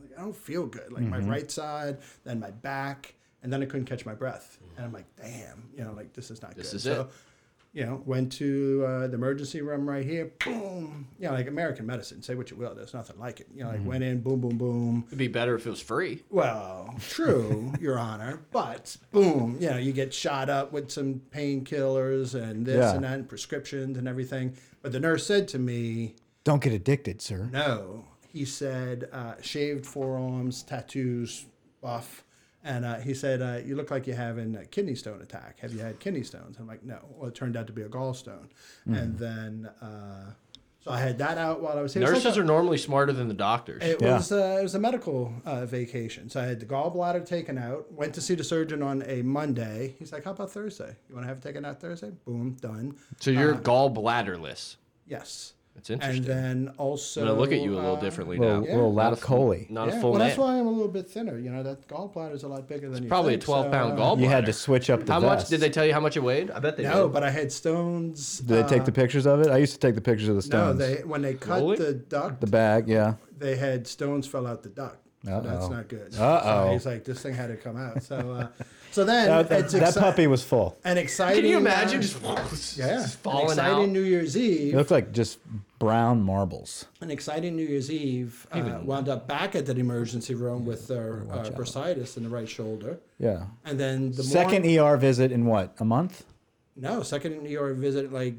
like, I don't feel good. Like my right side, then my back, and then I couldn't catch my breath. And I'm like, damn, you know, like this is not good.
is
so,
it.
you know, went to uh, the emergency room right here. Boom. You know, like American medicine. Say what you will, there's nothing like it. You know, like went in, boom, boom, boom.
It'd be better if it was free.
Well, true, Your Honor, but boom. You know, you get shot up with some painkillers and this
Yeah.
and that, and prescriptions and everything. But the nurse said to me,
Don't get addicted, sir.
no. He said, uh, shaved forearms, tattoos, buff. And uh, he said, uh, you look like you're having a kidney stone attack. Have you had kidney stones? I'm like, no. Well, it turned out to be a gallstone. And then, uh, so I had that out while I was here. It's like
Nurses
a-
are normally smarter than the doctors.
it
Yeah.
was uh, it was a medical uh, vacation, so I had the gallbladder taken out. Went to see the surgeon on a Monday. He's like, "How about Thursday? You want to have it taken out Thursday?" Boom, done.
so you're
uh,
gallbladderless.
Yes.
That's interesting.
And then also,
I'm gonna look at you a little
uh,
differently
Little,
now.
little
Not a
Lap
f-
Coley.
Not
yeah,
a full
well,
man.
that's why I'm a little bit thinner. You know, that gallbladder is a lot bigger than you
Probably a
think, so,
12 pound
uh,
gallbladder.
You had to switch up the
How much
vest.
did they tell you how much it weighed? I bet they
No,
did.
but I had stones.
Did they
uh,
take the pictures of it? I used to take the pictures of the
no,
stones.
they when they cut
Really?
the duct,
the bag, yeah.
they had stones fell out the duct. So
Uh-oh.
that's not good.
Uh-oh.
So he's like, this thing had to come out. So, uh, so then
That,
it's
that
exci-
puppy was full.
An exciting.
Can you
uh,
imagine just,
yeah,
just
an
falling
exciting
out?
New Year's
It
Eve.
looked like just brown marbles.
An exciting New Year's Eve. Uh, wound up back at that emergency room with their uh, bursitis in the right shoulder,
Yeah.
and then the
Second
morn-
ER visit in what? A month?
no second New Year visit like.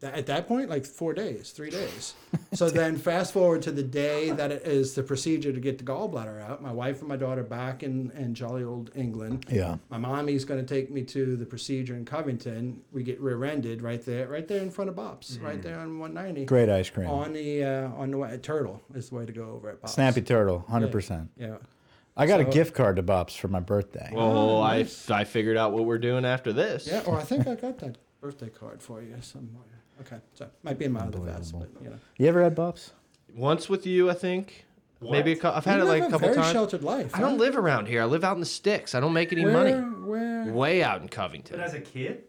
tha- At that point, like four days, three days. So then, fast forward to the day that it is the procedure to get the gallbladder out. My wife and my daughter back in, in jolly old England.
Yeah.
My mommy's going to take me to the procedure in Covington. We get rear-ended right there, right there in front of Bob's, right there on 190.
Mm. Great ice cream.
On the uh, on the way, turtle is the way to go over at Bob's.
Snappy Turtle, 100%.
Yeah.
I got a gift card to Bob's for my birthday.
Oh, I, I figured out what we're doing after this.
Yeah. Or I think I got that birthday card for you somewhere. Okay. So might be in my other vest, but you know.
you ever had Bob's?
Once with you, I think. Maybe a cou- I've had
You
it like
live
a couple
very
times.
sheltered life.
I don't live around here. I live out in the sticks. I don't make any
where,
money.
Where?
Way out in Covington.
a kid,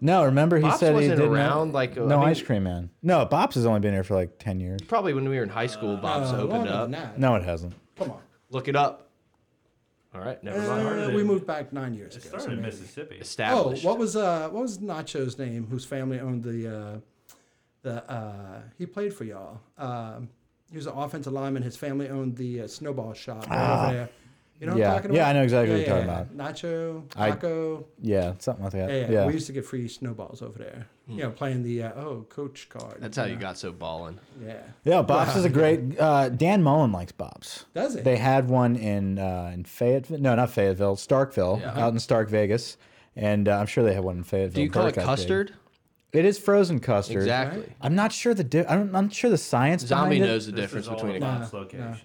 No, remember he
Bob's
said he
wasn't
didn't
around,
have-
like, uh,
no
I mean-
ice cream man. No, Bob's has only been here for like ten years.
Probably when we were in high school, Bob's
Uh,
opened
longer than
up.
that.
No, it hasn't.
Come on.
Look it up. All right, never mind.
Uh,
started
we
in-
moved back nine years ago. so
started in
maybe.
Mississippi.
Oh,
Established.
what was uh, what was Nacho's name? Whose family owned the uh, the uh, he played for y'all. Um, he was an offensive lineman. His family owned the uh, snowball shop right over there. You know what
Ah. Yeah.
I'm talking about?
Yeah, I know exactly what you're talking
about. Nacho,
I-
Taco.
Yeah, something like that.
yeah, yeah.
Yeah. Hmm.
we used to get free snowballs over there. You know, playing the uh, oh coach card.
That's how you got so ballin'.
yeah.
Yeah, Bob's is a great. Uh, Dan Mullen likes Bob's.
Does it?
They had one in uh, in Fayetteville. No, not Fayetteville. Starkville, out in Stark, Vegas, and uh, I'm sure they have one in Fayetteville.
Do you call it
Burke, I think.
custard?
It is frozen custard.
Exactly.
I'm not sure the. Di- I'm not sure the science.
Zombie
behind it.
knows the difference between a
Nah,
Bob's
nah.
locations.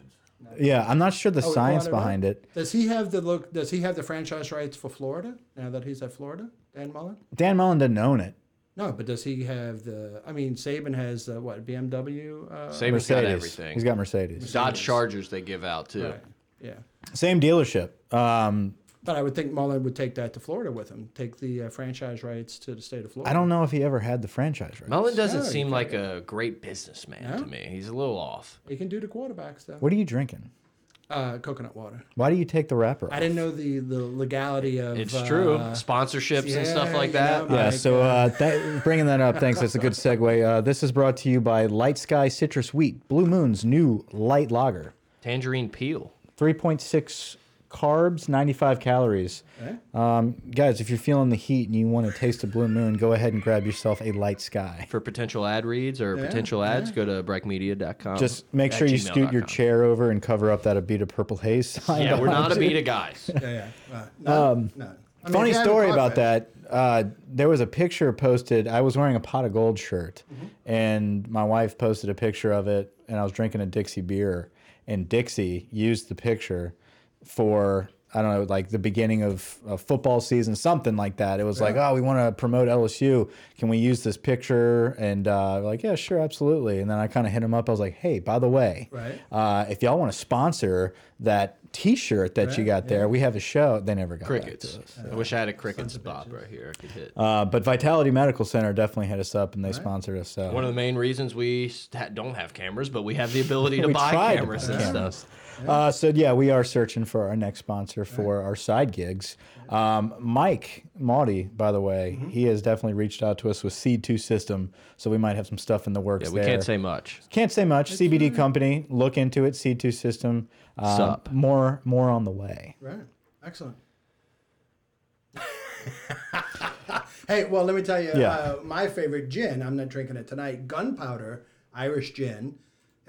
Yeah, I'm not sure the
Oh, we
science
brought it up?
behind it.
Does he have the look? Does he have the franchise rights for Florida now that he's at Florida? Dan Mullen.
Dan Mullen didn't own it.
No, but does he have the? I mean, Saban has uh, what BMW? Uh,
Saban's got
Mercedes.
everything.
He's got Mercedes.
Dodge Chargers they give out too.
Right. Yeah,
Same dealership. Um,
but I would think Mullen would take that to Florida with him. Take the uh, franchise rights to the state of Florida.
I don't know if he ever had the franchise right.
Mullen doesn't
Yeah,
seem like a great businessman to me. He's a little off.
He can do the quarterbacks though.
What are you drinking?
Uh, coconut water.
Why do you take the wrapper?
I didn't know the, the legality of.
It's
uh,
true. Sponsorships
yeah,
and stuff like
you
that.
know,
Yeah,
Like,
so uh, that, bringing that up, thanks. That's a good segue. Uh, this is brought to you by Light Sky Citrus Wheat, Blue Moon's new light lager.
Tangerine peel.
3.6 carbs, 95 calories. Um, guys, if you're feeling the heat and you want to taste a Blue Moon, go ahead and grab yourself a Light Sky.
For potential ad reads or potential ads, go to breckmedia.com.
Just make
at
sure you scoot your
gmail.com.
chair over and cover up that Abita Purple Haze sign.
Yeah, we're not a beta guys.
yeah, yeah. Uh, no, no. I mean,
Um, Funny
if you have a
story about
closet-
that. Uh, there was a picture posted. I was wearing a pot of gold shirt,
Mm-hmm.
and my wife posted a picture of it, and I was drinking a Dixie beer, and Dixie used the picture for. I don't know, like the beginning of a football season, something like that. It was like, oh, we want to promote LSU. Can we use this picture? And uh, like, yeah, sure, absolutely. And then I kind of hit him up. I was like, hey, by the way,
Right.
uh, if y'all want to sponsor that T-shirt that you got there, we have a show. They never got back to
Crickets.
us.
I wish I had a crickets bob right here. I could hit.
Uh, but Vitality Medical Center definitely hit us up and they sponsored us. So
One of the main reasons we sta- don't have cameras, but we have the ability to
We
buy
tried to
cameras
buy
and
cameras.
stuff.
Uh, so yeah, we are searching for our next sponsor for our side gigs. Um, Mike Maudie, by the way,
Mm-hmm.
he has definitely reached out to us with Seed Two System, so we might have some stuff in the works.
Yeah, we
there.
can't say much.
can't say much. CBD company, look into it. Seed Two System, Um,
Sup.
more more on the way.
Right. Excellent. hey, well, let me tell you,
Yeah.
uh, my favorite gin, I'm not drinking it tonight, gunpowder Irish gin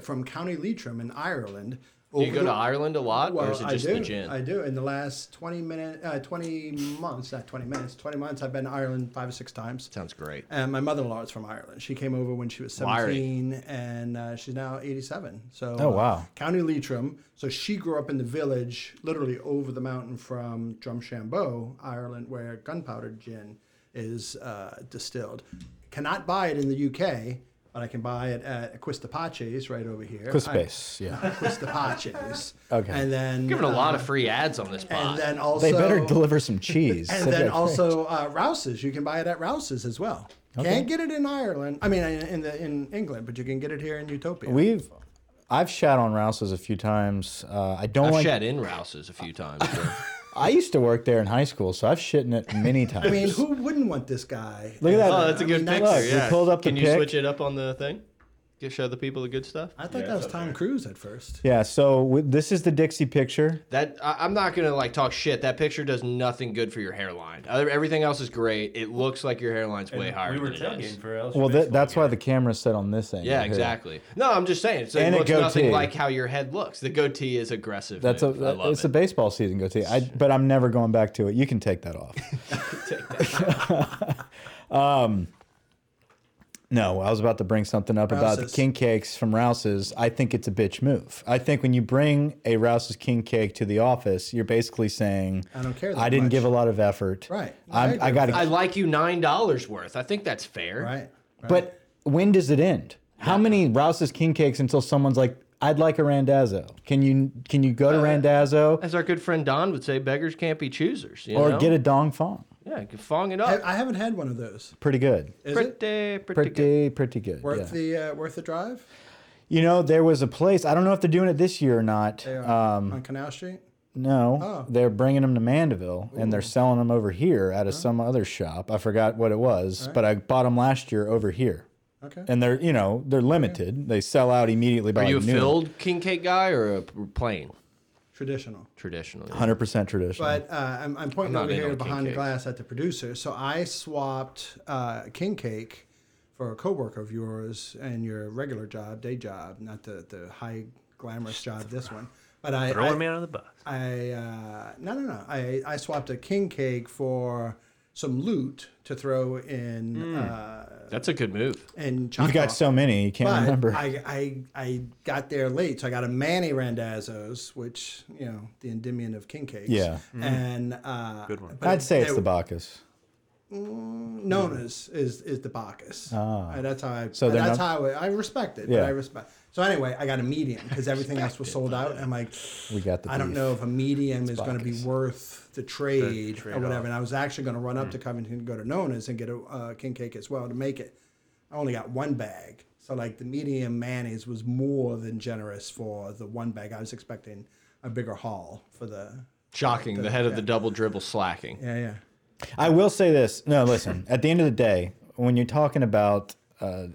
from County Leitrim in Ireland.
Do you go to Ireland a lot, or is it just
I do.
the gin?
I do. In the last 20 minute, uh, 20 months, not 20 minutes, 20 months, I've been to Ireland five or six times.
Sounds great.
And Uh, my mother-in-law is from Ireland. She came over when she was
Wiry.
17, and uh, she's now 87. So,
Oh,
uh,
wow.
County Leitrim. So she grew up in the village, literally over the mountain from Drumshambo, Ireland, where gunpowder gin is uh, distilled. Cannot buy it in the UK, but I can buy it at Quistapaches right over here.
Quispase, yeah.
Quistapaches.
Okay.
And then
Giving a
uh,
lot of free ads on this
and
pod.
then also
They better deliver some cheese.
and
That'd be
then
great.
also uh, Rouse's. You can buy it at Rouse's as well. Can't get it in Ireland. I mean, in in, the, in England, but you can get it here in Utopia.
we've. I've shat on Rouse's a few times. Uh, I don't
I've
like
shed in Rouse's a few times. so.
I used to work there in high school, so I've shit in it many times.
I mean, who wouldn't want this guy?
Look at that.
oh, that's a
I
good
mean, that's-
picture.
Look, we
yeah.
pulled up the
Can you
pic.
switch it up on the thing? Just show the people the good stuff.
I thought that was Tom Cruise at first.
yeah, so w- this is the Dixie picture.
That I, I'm not gonna like talk shit. That picture does nothing good for your hairline. Other, everything else is great. It looks like your hairline's way higher.
We were
than it is.
tailgating for LSU.
Well, th-
baseball
that's
game.
why the camera's set on this angle.
Yeah,
here.
exactly. No, I'm just saying. It's, it
And a
looks nothing
goatee.
like how your head looks. The goatee is aggressive.
That's a
move. I love
it's a
it.
baseball season goatee. I, but I'm never going back to it. You can take that off. Um, No, I was about to bring something up about
Rouse's.
the king cakes from Rouse's. I think it's a bitch move. I think when you bring a Rouse's king cake to the office, you're basically saying,
I don't care that
I didn't
much."
give a lot of effort.
Right. I
I'm,
agree
I
with
got
I
to.
like you nine dollars worth. I think that's fair.
Right. right.
But when does it end? How many Rouse's king cakes until someone's like, I'd like a Randazzo. Can you can you
Uh,
go to Randazzo
As our good friend Don would say, beggars can't be choosers. You
or
know?
get a Dong Fong?
yeah, you can fong it
uh,
I,
up.
I haven't had one of those.
Pretty good.
Is
pretty,
it
Pretty
pretty, good.
pretty, good.
worth
yeah.
the uh, worth the drive?
you know, there was a place. I don't know if they're doing it this year or not.
They are
Uh,
on Canal Street.
no,
Oh.
they're bringing them to Mandeville and they're selling them over here out of some other shop. I forgot what it was, but I bought them last year over here.
Okay.
And they're you know they're limited. They sell out immediately by
Are you a
like noon.
filled king cake guy or a plain
Traditional.
traditionally?
Hundred percent traditional.
But uh, I'm, I'm pointing
I'm not
over
in on
here
king
behind the
cakes.
glass at the producer. So I swapped uh, king cake for a coworker of yours and your regular job, day job, not the, the high glamorous job. This one, but I
throwing
I,
me under the bus.
I uh, no no no. I I swapped a king cake for some loot to throw in
Hmm.
uh,
That's a good move.
in.
You've got so many you can't
But
remember.
I, I I got there late, so I got a Manny Randazzo's, which you know the endymion of king cakes.
Yeah.
and uh,
Mm-hmm. Good one.
but
I'd say it's
they-
the Bacchus.
Nona's is is the Bacchus. And that's how I. So
Ah. they're
that's
not-
how I, I respect it.
Yeah.
But I respect. So anyway, I got a medium because everything else was sold out. I'm like,
We got the
I don't
beef.
know if a medium is going to be
Bacchus.
worth the trade or
trade-off.
whatever. And I was actually going to run
Mm.
up to Covington and go to Nona's and get a uh, king cake as well to make it. I only got one bag, so like the medium mayonnaise was more than generous for the one bag. I was expecting a bigger haul for the.
Shocking. The head of the double dribble slacking.
Yeah, yeah.
I will say this. No, listen. at the end of the day, when you're talking about uh,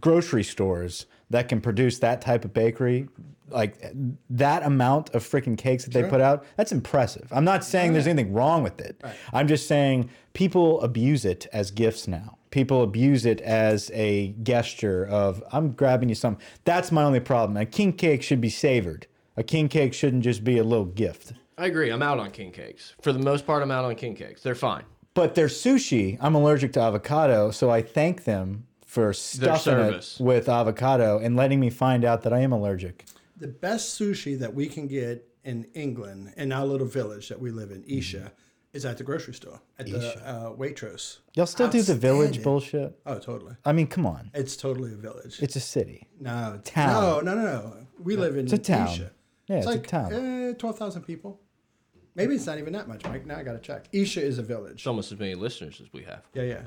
grocery stores that can produce that type of bakery, like that amount of freaking cakes that they put out, that's impressive. I'm not saying there's anything wrong with it. I'm just saying people abuse it as gifts now. People abuse it as a gesture of I'm grabbing you something. That's my only problem. A king cake should be savored. A king cake shouldn't just be a little gift.
I agree. I'm out on king cakes. For the most part, I'm out on king cakes. They're fine.
But their sushi, I'm allergic to avocado, so I thank them for stuffing it
service.
with avocado and letting me find out that I am allergic.
The best sushi that we can get in England, in our little village that we live in,
Mm-hmm.
Isha, is at the grocery store, at the uh, Waitrose.
Y'all still do the village
Outstanding.
bullshit?
Oh, totally.
I mean, come on.
It's totally a village.
It's a city.
no, it's-
town.
No, no, no, no. We live in
It's a town.
Isha.
Yeah, it's
it's,
a
like
town.
eh, 12,000 people. Maybe it's not even that much, Mike. Now I got to check. Isha is a village.
It's almost as many listeners as we have.
Yeah, yeah.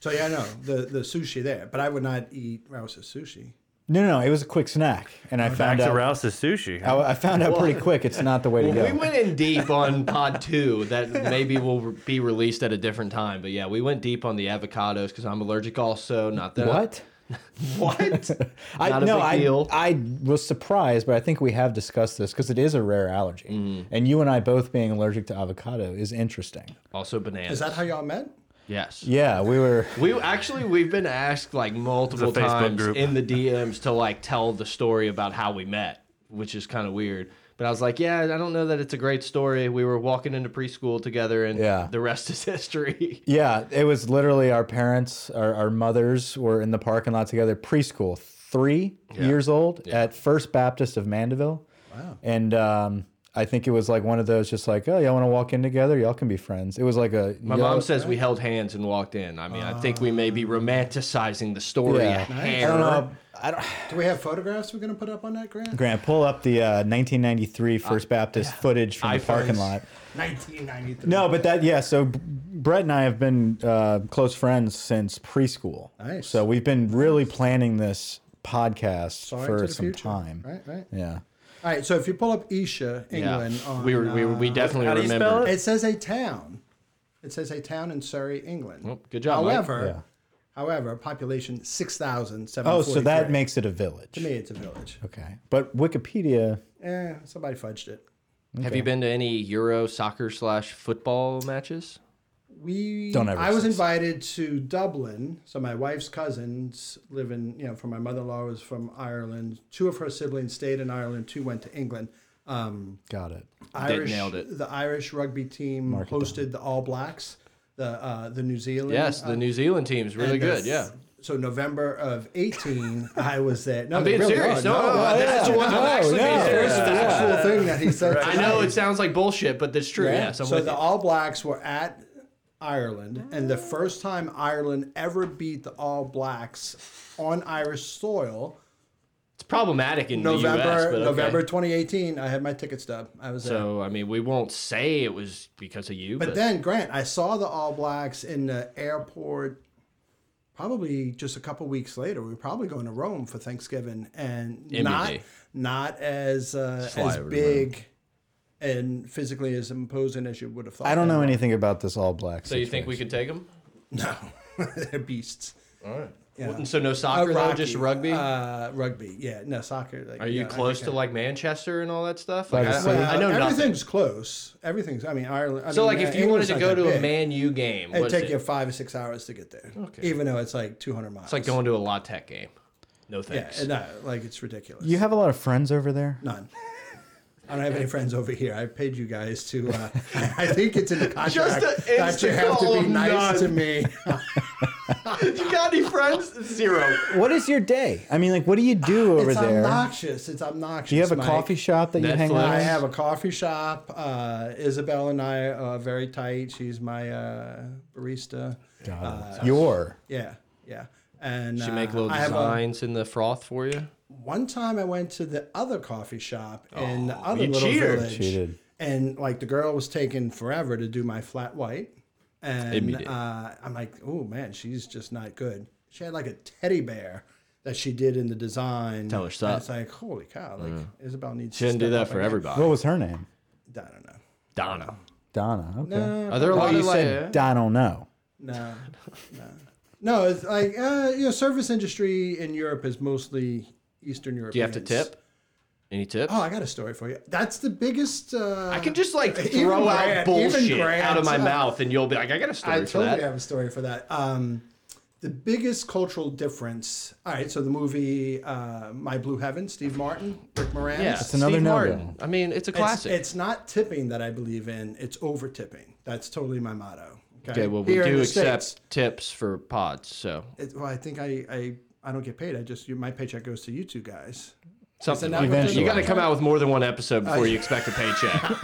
So yeah, I know the the sushi there, but I would not eat Rouse's sushi.
No, no, no, it was a quick snack, and
Oh,
I
Back
found
to
out.
Rouse's sushi.
I, I found out pretty quick. It's not the way to
Well,
go.
we went in deep on pod two that maybe will re- be released at a different time. But yeah, we went deep on the avocados because I'm allergic also. Not that.
what?
What?
I,
Not a
no,
big
I,
deal.
I was surprised, but I think we have discussed this because it is a rare allergy,
Mm.
and you and I both being allergic to avocado is interesting.
also bananas.
Is that how y'all met?
Yes.
Yeah, we were.
We actually we've been asked like multiple
Facebook
times
group.
in the DMs to like tell the story about how we met, which is kind of weird. But I was like, yeah, I don't know that it's a great story. We were walking into preschool together, and
Yeah.
the rest is history.
Yeah, it was literally our parents, our, our mothers were in the parking lot together, preschool, three years old at First Baptist of Mandeville. Wow. And um, I think it was like one of those just like, oh, y'all want to walk in together? Y'all can be friends. It was like a.
My mom says we held hands and walked in. I mean, I think we may be romanticizing the story
Yeah.
a
Nice.
hair.
I don't know. I don't,
Do we have photographs we're gonna put up on that grant?
Grant, pull up the uh, 1993 First Baptist footage from the
iPhones.
parking lot.
1993.
No, but that yeah. So B- Brett and I have been uh, close friends since preschool.
Nice.
So we've been really planning this podcast
Sorry to
for
the
some
future.
time.
Right, right.
Yeah.
All right. So if you pull up Isha,
Yeah,
England, on,
we were, we, were, we
uh,
definitely
How do you spell
remember.
it?
it says a town. It says a town in Surrey, England.
Well, good job, Mike.
However,
Yeah.
however, population six thousand seven.
Oh, so that makes it a village.
to me it's a village.
Okay. But Wikipedia.
Eh, somebody fudged it.
Have you been to any Euro soccer slash football matches?
We
Don't ever
I was
say-
invited to Dublin. So my wife's cousins live in you know, from my mother in law was from Ireland. Two of her siblings stayed in Ireland, two went to England. Um,
Got it.
Irish
nailed it.
the Irish rugby team hosted the All Blacks, the uh, the New Zealand
Yes, the New Zealand team's really
and
good.
the-
yeah.
So November of eighteen, I was there. No,
I'm
they
being
really
serious.
are.
No, no, no, that's the one I'm
No,
actually being
no,
serious.
It's the
That's
actual thing that he said.
I know it sounds like bullshit, but that's true. Yes, I'm
so
with
the
you.
All Blacks were at Ireland, and the first time Ireland ever beat the All Blacks on Irish soil,
It's problematic in
November
the US, but okay.
November 2018. I had my ticket stub. I was there.
So I mean, we won't say it was because of you, but,
But then, Grant, I saw the All Blacks in the airport. Probably just a couple weeks later, we were probably going to Rome for Thanksgiving, and not
MBD.
not as uh,
Fly
as
over to
big and physically as imposing as you would have thought.
I don't know anything about this All Black.
so you think we could take them?
No, they're beasts.
And so no soccer, though,
Oh, Rocky.
just rugby.
Uh, rugby, yeah. No soccer. Like,
Are you close to like Manchester and all that stuff? Like,
By the
I,
sea.
I know nothing.
everything's close. Everything's. I mean, Ireland. I
So
mean,
like,
uh,
if you wanted
England's
to
not
go
that
to a
big.
Man U game,
it'd
what's it
take you five or six hours to get there.
Okay.
Even though it's like 200 miles.
It's like going to a La Tech game. No
Yeah,
thanks.
and, uh, like it's ridiculous.
You have a lot of friends over there.
None. I don't have any friends over here. I paid you guys to. Uh, I think it's in the contract
Just an
that you
instant
have to
call
be
of none.
nice to me.
you got any friends? Zero.
What is your day? I mean, like, what do you do over
it's
there?
obnoxious. It's obnoxious.
do you have a
Mike.
coffee shop that you hang
Netflix.
out?
I
in?
have a coffee shop. Uh, Isabel and I are very tight. She's my uh, barista. uh,
Got it. Your.
Yeah, yeah. And
She make
uh,
little
I have a-
designs in the froth for you.
one time I went to the other coffee shop in the other
Oh, you
little
cheated.
village,
Cheated.
and like the girl was taking forever to do my flat white, and
Immediate.
uh, I'm like, oh man, she's just not good. She had like a teddy bear that she did in the design.
Tell her
And
stop.
It's like holy cow! Like Isabel needs. to
Shouldn't do
step
that
up
for
and-
everybody.
What was her name?
I don't know.
Donna.
Donna. Okay.
No,
Are there a
Oh,
lot
you
of
said
like,
I don't know.
No, no, no. It's like uh, you know, service industry in Europe is mostly Eastern Europe.
do you have to tip? Any tips?
Oh, I got a story for you. That's the biggest. Uh,
I can just like
Even
throw out
Grant- even
bullshit out of my
Grant's-
mouth, and you'll be like, "I got a story
I
for
totally
that."
have a story for that. Um, the biggest cultural difference. All right, so the movie uh, My Blue Heaven, Steve Martin, Rick Moranis.
Yeah,
It's another
Steve
no-go.
Martin. I mean, it's a
It's,
classic.
it's not tipping that I believe in. It's over tipping. That's totally my motto.
okay, well, we
Here in
do
the
accept
States,
tips for pods, so
it- well, I think I, I I don't get paid. I just my paycheck goes to you two guys.
something.
now we're
Like that.
doing
You got to
it.
come out with more than one episode before
Uh,
you expect a paycheck.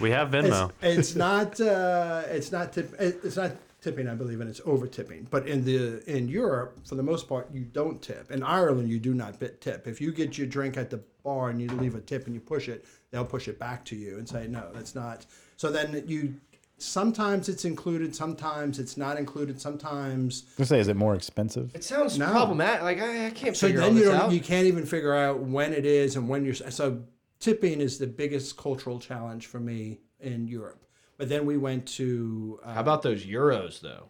We have
It's,
Venmo.
it's not uh, it's not tip, it- it's not tipping. I believe in it's over tipping. But in the in Europe, for the most part, you don't tip. In Ireland, you do not bit tip. If you get your drink at the bar and you leave a tip and you push it, they'll push it back to you and say no, that's not. So then you sometimes it's included, sometimes it's not included, sometimes.
Let's say, is it more expensive?
it sounds
No.
problematic. Like I, I can't
So
figure all
then you
this
don't,
out.
you can't even figure out when it is and when you're. So tipping is the biggest cultural challenge for me in Europe. But then we went to uh,
How about those euros though,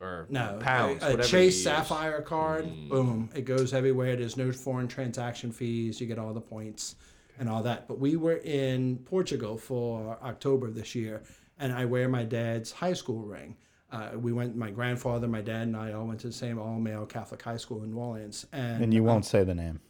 or
no
pounds?
a, a
whatever you
Chase
use.
Sapphire card. Boom! It goes everywhere. There's no foreign transaction fees. You get all the points and all that. But we were in Portugal for October this year, and I wear my dad's high school ring. Uh, we went. My grandfather, my dad, and I all went to the same all-male Catholic high school in New Orleans. And,
And you won't say the name.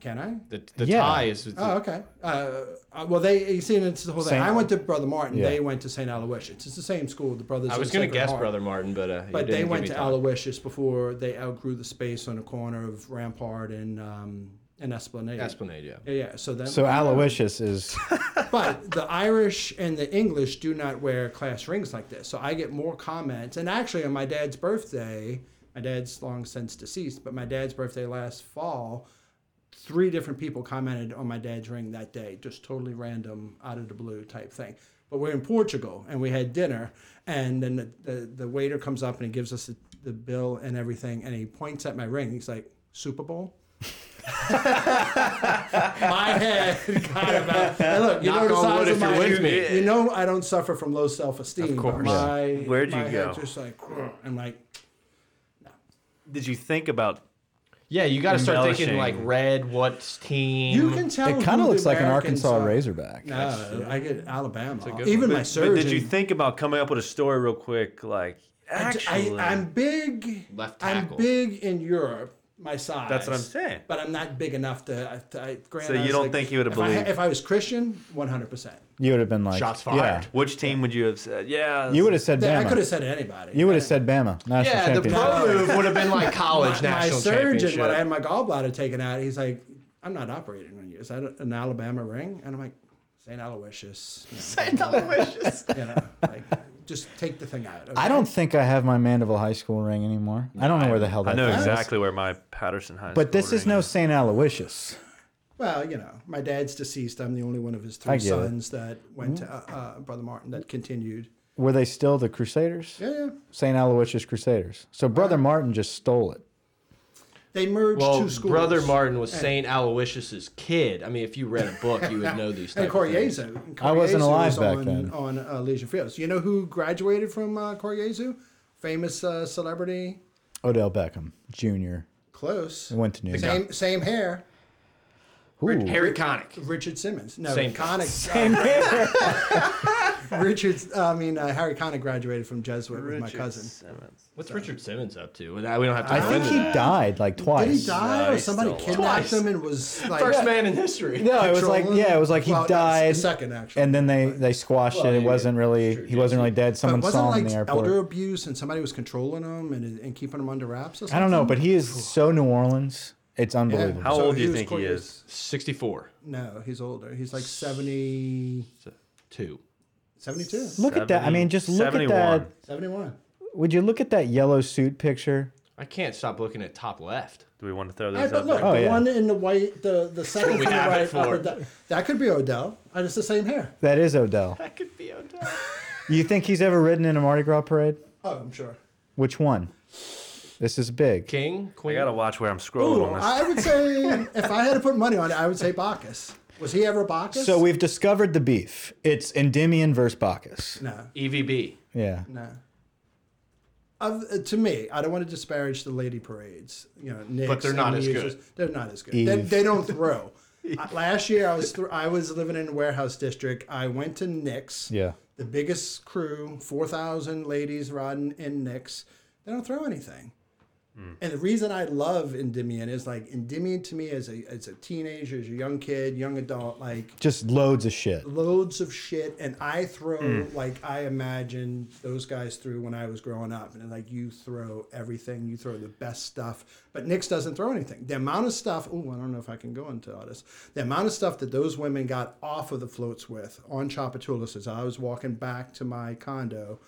can I?
The, the
Yeah.
tie is.
Oh, okay. Uh, uh, well, they you see, it's the whole thing.
Saint-
I went to Brother Martin.
Yeah.
They went to Saint Aloysius. It's the same school. The brothers.
I
of
was
the
gonna
Sacred
guess
Heart.
Brother Martin, but uh, you
But
didn't
they
give
went
me
to
time.
Aloysius before they outgrew the space on the corner of Rampart and um, and Esplanade.
Esplanade, yeah.
Yeah, yeah. So then,
So Aloysius is
but the Irish and the English do not wear class rings like this. So I get more comments. And actually, on my dad's birthday, my dad's long since deceased, but my dad's birthday last fall, three different people commented on my dad's ring that day, just totally random, out of the blue type thing. But we're in Portugal and we had dinner, and then the, the, the waiter comes up and he gives us the, the bill and everything, and he points at my ring. He's like, Super Bowl? my head got about. And look, you
Knock
know the
on
size
wood
of
if you're
my,
with me.
You know I don't suffer from low self esteem. Of
course.
My,
Where'd you
my head
go?
Just like I'm like
Did you think about
Yeah, you got to start thinking
Embellishing.
like red. What's team?
you can tell.
it kind
who
of
the
looks like an
Americans
Arkansas
are.
Razorback.
No, Uh, I get Alabama.
good one.
Even my
But
surgeon.
did you think about coming up with a story real quick? Like,
I-
actually,
I, am big.
Left
I'm
tackle.
big in Europe. My size.
That's what I'm saying.
But I'm not big enough to. I, to I, grant
So
I
you
was
don't
like-
think you would've
if I-
believed?
if I was Christian, 100. percent
You would have been like
Shots
Yeah.
fired.
which team would you have said? Yeah,
You would have said
I could have
Bama.
said anybody.
You would have said Bama. National
Yeah, the
championship.
pro move would have been like college
my, my
national
surgeon
championship.
when I had my gallbladder taken out, he's like, "I'm not operating on you. Is that an Alabama ring?" And I'm like, "Saint Aloysius." you know, You know, like just take the thing out.
I don't think I have my Mandeville High School ring anymore. I don't know where the hell that
I know
thing is.
exactly where my Patterson High.
But this
School
is
ring
no St. Aloysius.
Well, you know, my dad's deceased. I'm the only one of his
I
three
get it. Mm-hmm.
sons that went to uh, uh, Brother Martin that continued.
Were they still the Crusaders?
Yeah, yeah.
St. Aloysius Crusaders. So Brother Martin just stole it.
They merged
well,
two schools.
brother Martin was Saint Aloysius's kid. I mean, if you read a book, you would know these.
and
type of things.
Coriezo. And
I wasn't
Coriezo
alive
was
back
on,
then.
On uh, Legion Fields. You know who graduated from uh, Coriezo? Famous uh, celebrity.
Odell Beckham Jr.
Close.
went to New York.
Same, same hair.
Ooh.
Harry Connick.
Richard Simmons. No,
Same-
Connick. Richard, I mean, uh, Harry Connick graduated from Jesuit with my cousin.
Simmons.
What's Richard Simmons up to? Well, We don't have to.
I
go
think
into
he
that.
died like twice.
Did he die
No,
or
he's
somebody
still alive.
kidnapped
Twice.
him and was like.
First man in history.
No, it was like
controlling
yeah, it
him?
was like he
Well, that's
died.
The second, actually.
and then they they squashed
Well,
it. It
yeah,
wasn't really
true,
he wasn't really dead.
But
Someone
wasn't
saw him
like
in the airport.
elder abuse and somebody was controlling him and, and keeping him under wraps or something?
I don't know, but he is so New Orleans. It's unbelievable.
How
So
old do you
was
think he
Coriezo-
is?
Sixty-four.
No, he's older. He's like 70,
Two.
72,
Look at that. I mean, just look at
71.
that.
71.
Would you look at that yellow suit picture?
I can't stop looking at top left.
Do we want to throw
All right,
this
but
out
look,
there?
Oh,
the
yeah.
one in the white, the, the second
we
from the
have it
right,
for.
upper, that, that could be Odell. And it's the same hair.
That is Odell.
That could be Odell.
You think he's ever ridden in a Mardi Gras parade?
Oh, I'm sure.
Which one? This is big.
King,
I
queen.
gotta watch where I'm scrolling
Ooh,
on this.
I would say if I had to put money on it, I would say Bacchus. Was he ever Bacchus?
So we've discovered the beef. It's Endymion versus Bacchus.
no,
E EVB.
Yeah.
no. Of, uh, to me, I don't want to disparage the lady parades. You know, Knicks,
they're not
and
as
Users.
good.
They're not as good.
Eve.
They, they don't throw. I- last year, I was thr I was living in a warehouse district. I went to Knicks.
Yeah.
the biggest crew, 4,000 ladies riding in Knicks. They don't throw anything.
Hmm.
And the reason I love Endymion is like Endymion to me as a as a teenager, as a young kid, young adult, like
Just loads of shit.
loads of shit. And I throw like I imagine those guys threw when I was growing up. And like you throw everything, you throw the best stuff. But Knicks doesn't throw anything. The amount of stuff, oh, I don't know if I can go into all this. The amount of stuff that those women got off of the floats with on Chapatulas as I was walking back to my condo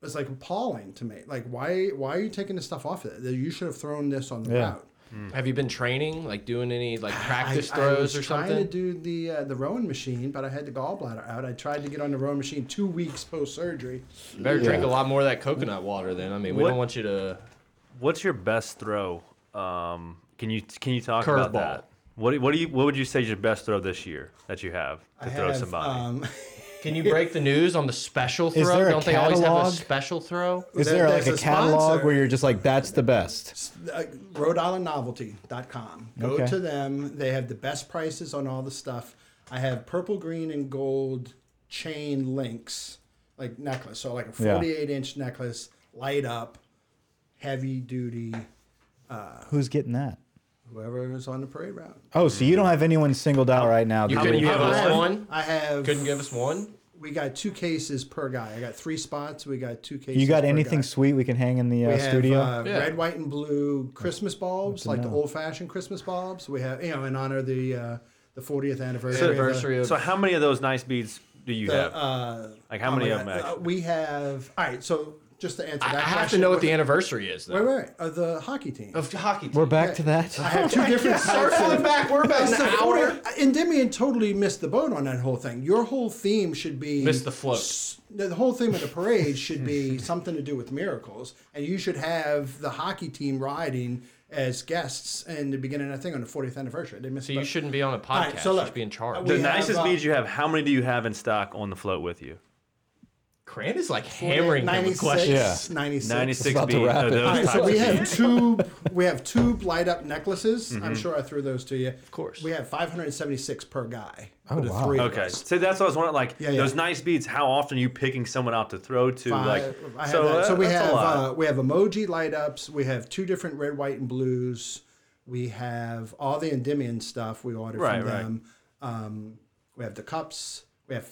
was like appalling to me. Like why why are you taking this stuff off of it? You should have thrown this on the
Yeah.
route.
Have you been training, like doing any like practice
I, I
throws
was
or
trying
something?
to do the uh, the rowing machine, but I had the gallbladder out. I tried to get on the rowing machine two weeks post surgery.
Better drink a lot more of that coconut water then. I mean, we
What-
don't want you to.
What's your best throw? Um, can you can you talk about
Curveball.
that? What do- what do you what would you say is your best throw this year that you have to
I
throw
have,
somebody?
Um,
Can you break the news on the special throw?
Is there a
don't they always have a
catalog?
special throw?
Is
There-
there like a
there's a
catalog
sponsor.
where you're just like, that's the best?
uh, Rhode Island Novelty.com. Go
Okay.
to them. They have the best prices on all the stuff. I have purple, green, and gold chain links, like necklace. So like a
Yeah.
48 inch necklace, light up, heavy duty.
Who's getting that?
Whoever is on the parade route.
Oh, so you don't have anyone singled out right now.
You
that
couldn't
many
give
do you
us
have?
one.
I have.
Couldn't give us one.
We got two cases per guy. I got three spots. We got two cases.
you got
per
anything
guy.
sweet we can hang in the uh,
We have
studio?
uh,
Yeah.
red, white, and blue Christmas bulbs, like the
know.
old-fashioned Christmas bulbs. We have, you know, in honor of the uh, the 40th anniversary. of the-
Anniversary of.
so how many of those nice beads do you
the,
have?
uh,
Like, how
oh
many
my
of
God,
them
uh,
actually-
we have. All right, so just to answer that
I
question,
have to know what the
wait,
anniversary is. Though.
wait, wait, uh, the hockey team.
Of hockey. Team.
We're back to that.
I have two different sets of-
Circling back. We're about an
So,
hour.
Endymion totally missed the boat on that whole thing. Your whole theme should be
Missed the float.
S- The whole theme of the parade should be something to do with miracles, and you should have the hockey team riding as guests in the beginning. I think on the 40th anniversary, they missed.
So
the
you
boat.
shouldn't be on a podcast.
right, so
you
look,
should be in charge.
the
we have,
nicest
uh,
beads you have. How many do you have in stock on the float with you?
Grant is like hammering him with
96,
questions.
Yeah.
96.
Ninety six
about to
beads.
wrap
of
it.
those
All right,
types
so
of
we
beads.
have two. We have two light up necklaces. I'm sure I threw those to you. Of
course.
We have 576 per guy. for the
wow.
three of
Okay,
us.
so that's what I was wondering. Like
yeah.
those nice beads, how often are you picking someone out to throw to? like,
Five- I have
so,
that.
uh,
so we
that's a
have
lot.
uh, we have emoji light ups. We have two different red, white, and blues. We have all the Endymion stuff we ordered
Right,
from
right.
them. Um, we have the cups. We have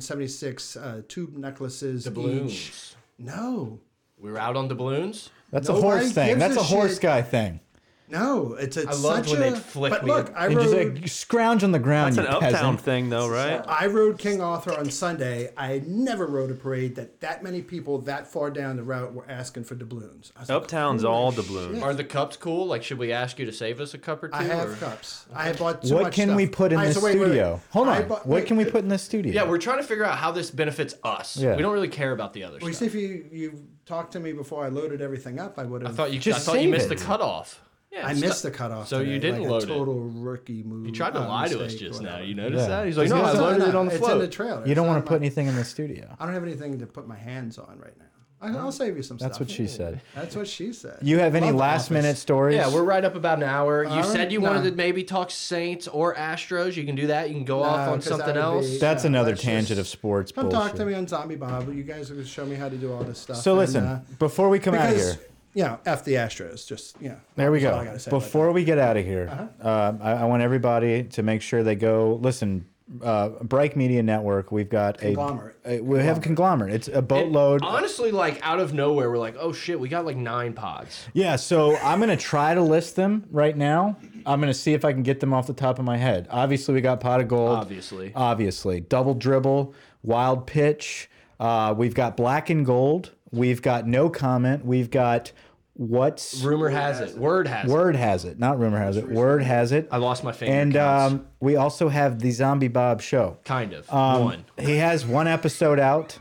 576 uh, tube necklaces each.
Balloons.
No,
We were out on doubloons.
That's a
Nobody
horse thing.
gives
That's
a
a horse
shit.
guy thing.
no, it's, it's
loved
such
when
a.
they'd flick
but
me.
look, I
And just
rode,
like scrounge on the ground.
That's an
you
uptown
peasant.
thing, though, right?
I rode King Arthur on Sunday. I never rode a parade that that many people that far down the route were asking for doubloons. I was like,
Uptown's all doubloons.
Are the cups cool? Like, should we ask you to save us a cup or two?
I
or-
have cups. I have bought too
what
much
can
stuff.
we put in
All right,
this
so wait, wait, wait.
studio? Hold
I
on. what
bought- wait,
can we put in this studio?
Yeah, we're trying to figure out how this benefits us.
Yeah.
We don't really care about the other
Well, you
stuff.
see, if you you talked to me before I loaded everything up, I would have.
I thought you.
Just
I thought
save
you missed
it.
the cutoff. Yeah,
I
it's
missed
not-
the cutoff.
So you
today,
didn't
like
load
a
it.
total rookie move.
You tried to
uh,
lie to us
mistake,
just
whatever.
now. You noticed
Yeah.
that? He's like,
He's
no, I
got-
loaded it on the
it's
float.
in the trailer.
you don't want
It's not
to put
my-
anything in the studio.
I don't have anything to put my hands on right now. I, I'll save you some
That's
stuff.
what she said.
That's what she said.
You have any
Love the
last minute
office.
stories?
yeah, we're right up about an hour. You
All right,
said you
nah.
wanted to maybe talk Saints or Astros. You can do that. You can go off
Nah,
on
'cause
something
that would be-
else.
That's
Yeah,
another
let's
tangent
just-
of sports
Come
bullshit.
talk to me on Zombie Bob. You guys are going to show me how to do all this stuff.
So
and,
listen,
uh,
before we come out of
because
here,
you know, f the Astros. Just you know,
There we
that's all I
go.
gotta say about Uh-huh.
Before we get out of here, um, I, I want everybody to make sure they go listen. Uh, Break Media Network. We've got a-
Conglomerate.
a we have a conglomerate. It's a boatload.
Honestly, like out of nowhere, we're like, oh shit, we got like nine pods.
yeah. So I'm gonna try to list them right now. I'm gonna see if I can get them off the top of my head. Obviously, we got Pot of Gold.
Obviously.
Obviously, Double Dribble, Wild Pitch. Uh, we've got Black and Gold. We've got No Comment. We've got what's
Rumor has it. Word has it.
Word has it, not rumor has it. Word has it.
I lost my finger.
And
counts.
um, we
uh,
also have the Zombie Bob show.
kind of
Um,
one.
He has one episode out.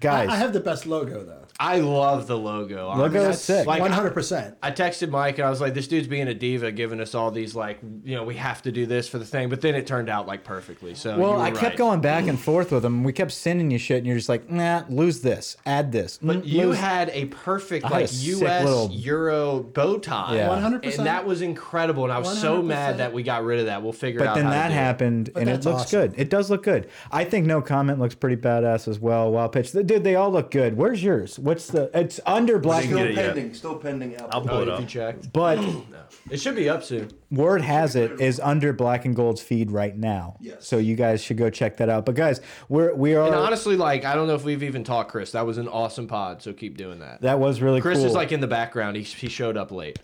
Guys,
I, I have the best logo though.
I love the logo.
Logo
honestly.
is sick.
Like,
One hundred percent.
I texted Mike and I was like, "This dude's being a diva, giving us all these like, you know, we have to do this for the thing." But then it turned out like perfectly. So you
well,
were
I kept
right.
going back and forth with them. We kept sending you shit, and you're just like, nah, lose this, add this.
But
mm,
you
lose-
had a perfect
had a
like
sick
U.S.
little-
Euro bow tie,
Yeah.
100%.
and that was incredible. And I was so
100%.
mad that we got rid of that. We'll figure
But
out.
then
how to
that
do it.
happened, and it
that's
looks
awesome.
good. It does look good. I think no comment looks pretty badass as well. Wild pitch, dude, they all look good. Where's yours? What's the? It's under black,
Didn't
Still
get it yet.
pending. Still pending. Apple.
I'll pull it
Oh, If
up.
you checked,
but
it should be up soon.
word has it is under black and gold's feed right now.
Yes.
So you guys should go check that out. But guys, we're we are
And honestly, like I don't know if we've even talked Chris. That was an awesome pod, so keep doing that.
that was really
Chris
cool.
is like in the background. He, he showed up late.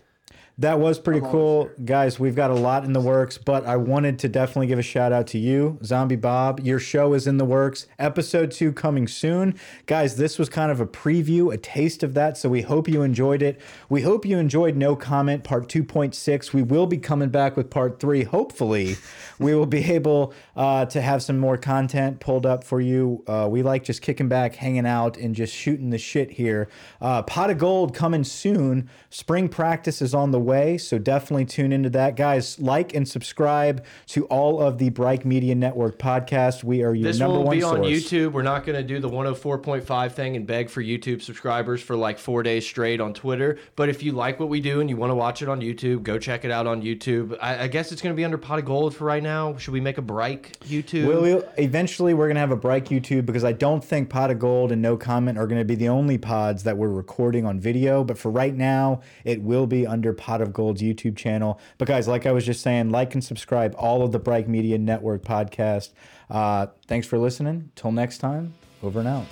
That was pretty cool. Guys, we've got a lot in the works, but I wanted to definitely give a shout out to you, Zombie Bob. Your show is in the works. Episode two coming soon. Guys, this was kind of a preview, a taste of that. So we hope you enjoyed it. We hope you enjoyed No Comment Part 2.6. We will be coming back with Part 3. Hopefully, we will be able uh, to have some more content pulled up for you. Uh, we like just kicking back, hanging out, and just shooting the shit here. Uh, Pot of Gold coming soon. Spring practice is on the way, so definitely tune into that. Guys, like and subscribe to all of the Bright Media Network podcasts. We are your
This
number
one will
one
be
source.
on YouTube. We're not going to do the 104.5 thing and beg for YouTube subscribers for like four days straight on Twitter. But if you like what we do and you want to watch it on YouTube, go check it out on YouTube. I, I guess it's going to be under Pot of Gold for right now. Should we make a break YouTube?
Will we, eventually, we're going to have a break YouTube because I don't think Pot of Gold and No Comment are going to be the only pods that we're recording on video. But for right now, it will be under Pot of Gold's YouTube channel. But guys, like I was just saying, like and subscribe all of the Bright Media Network podcast. Uh, thanks for listening. Till next time, over and out.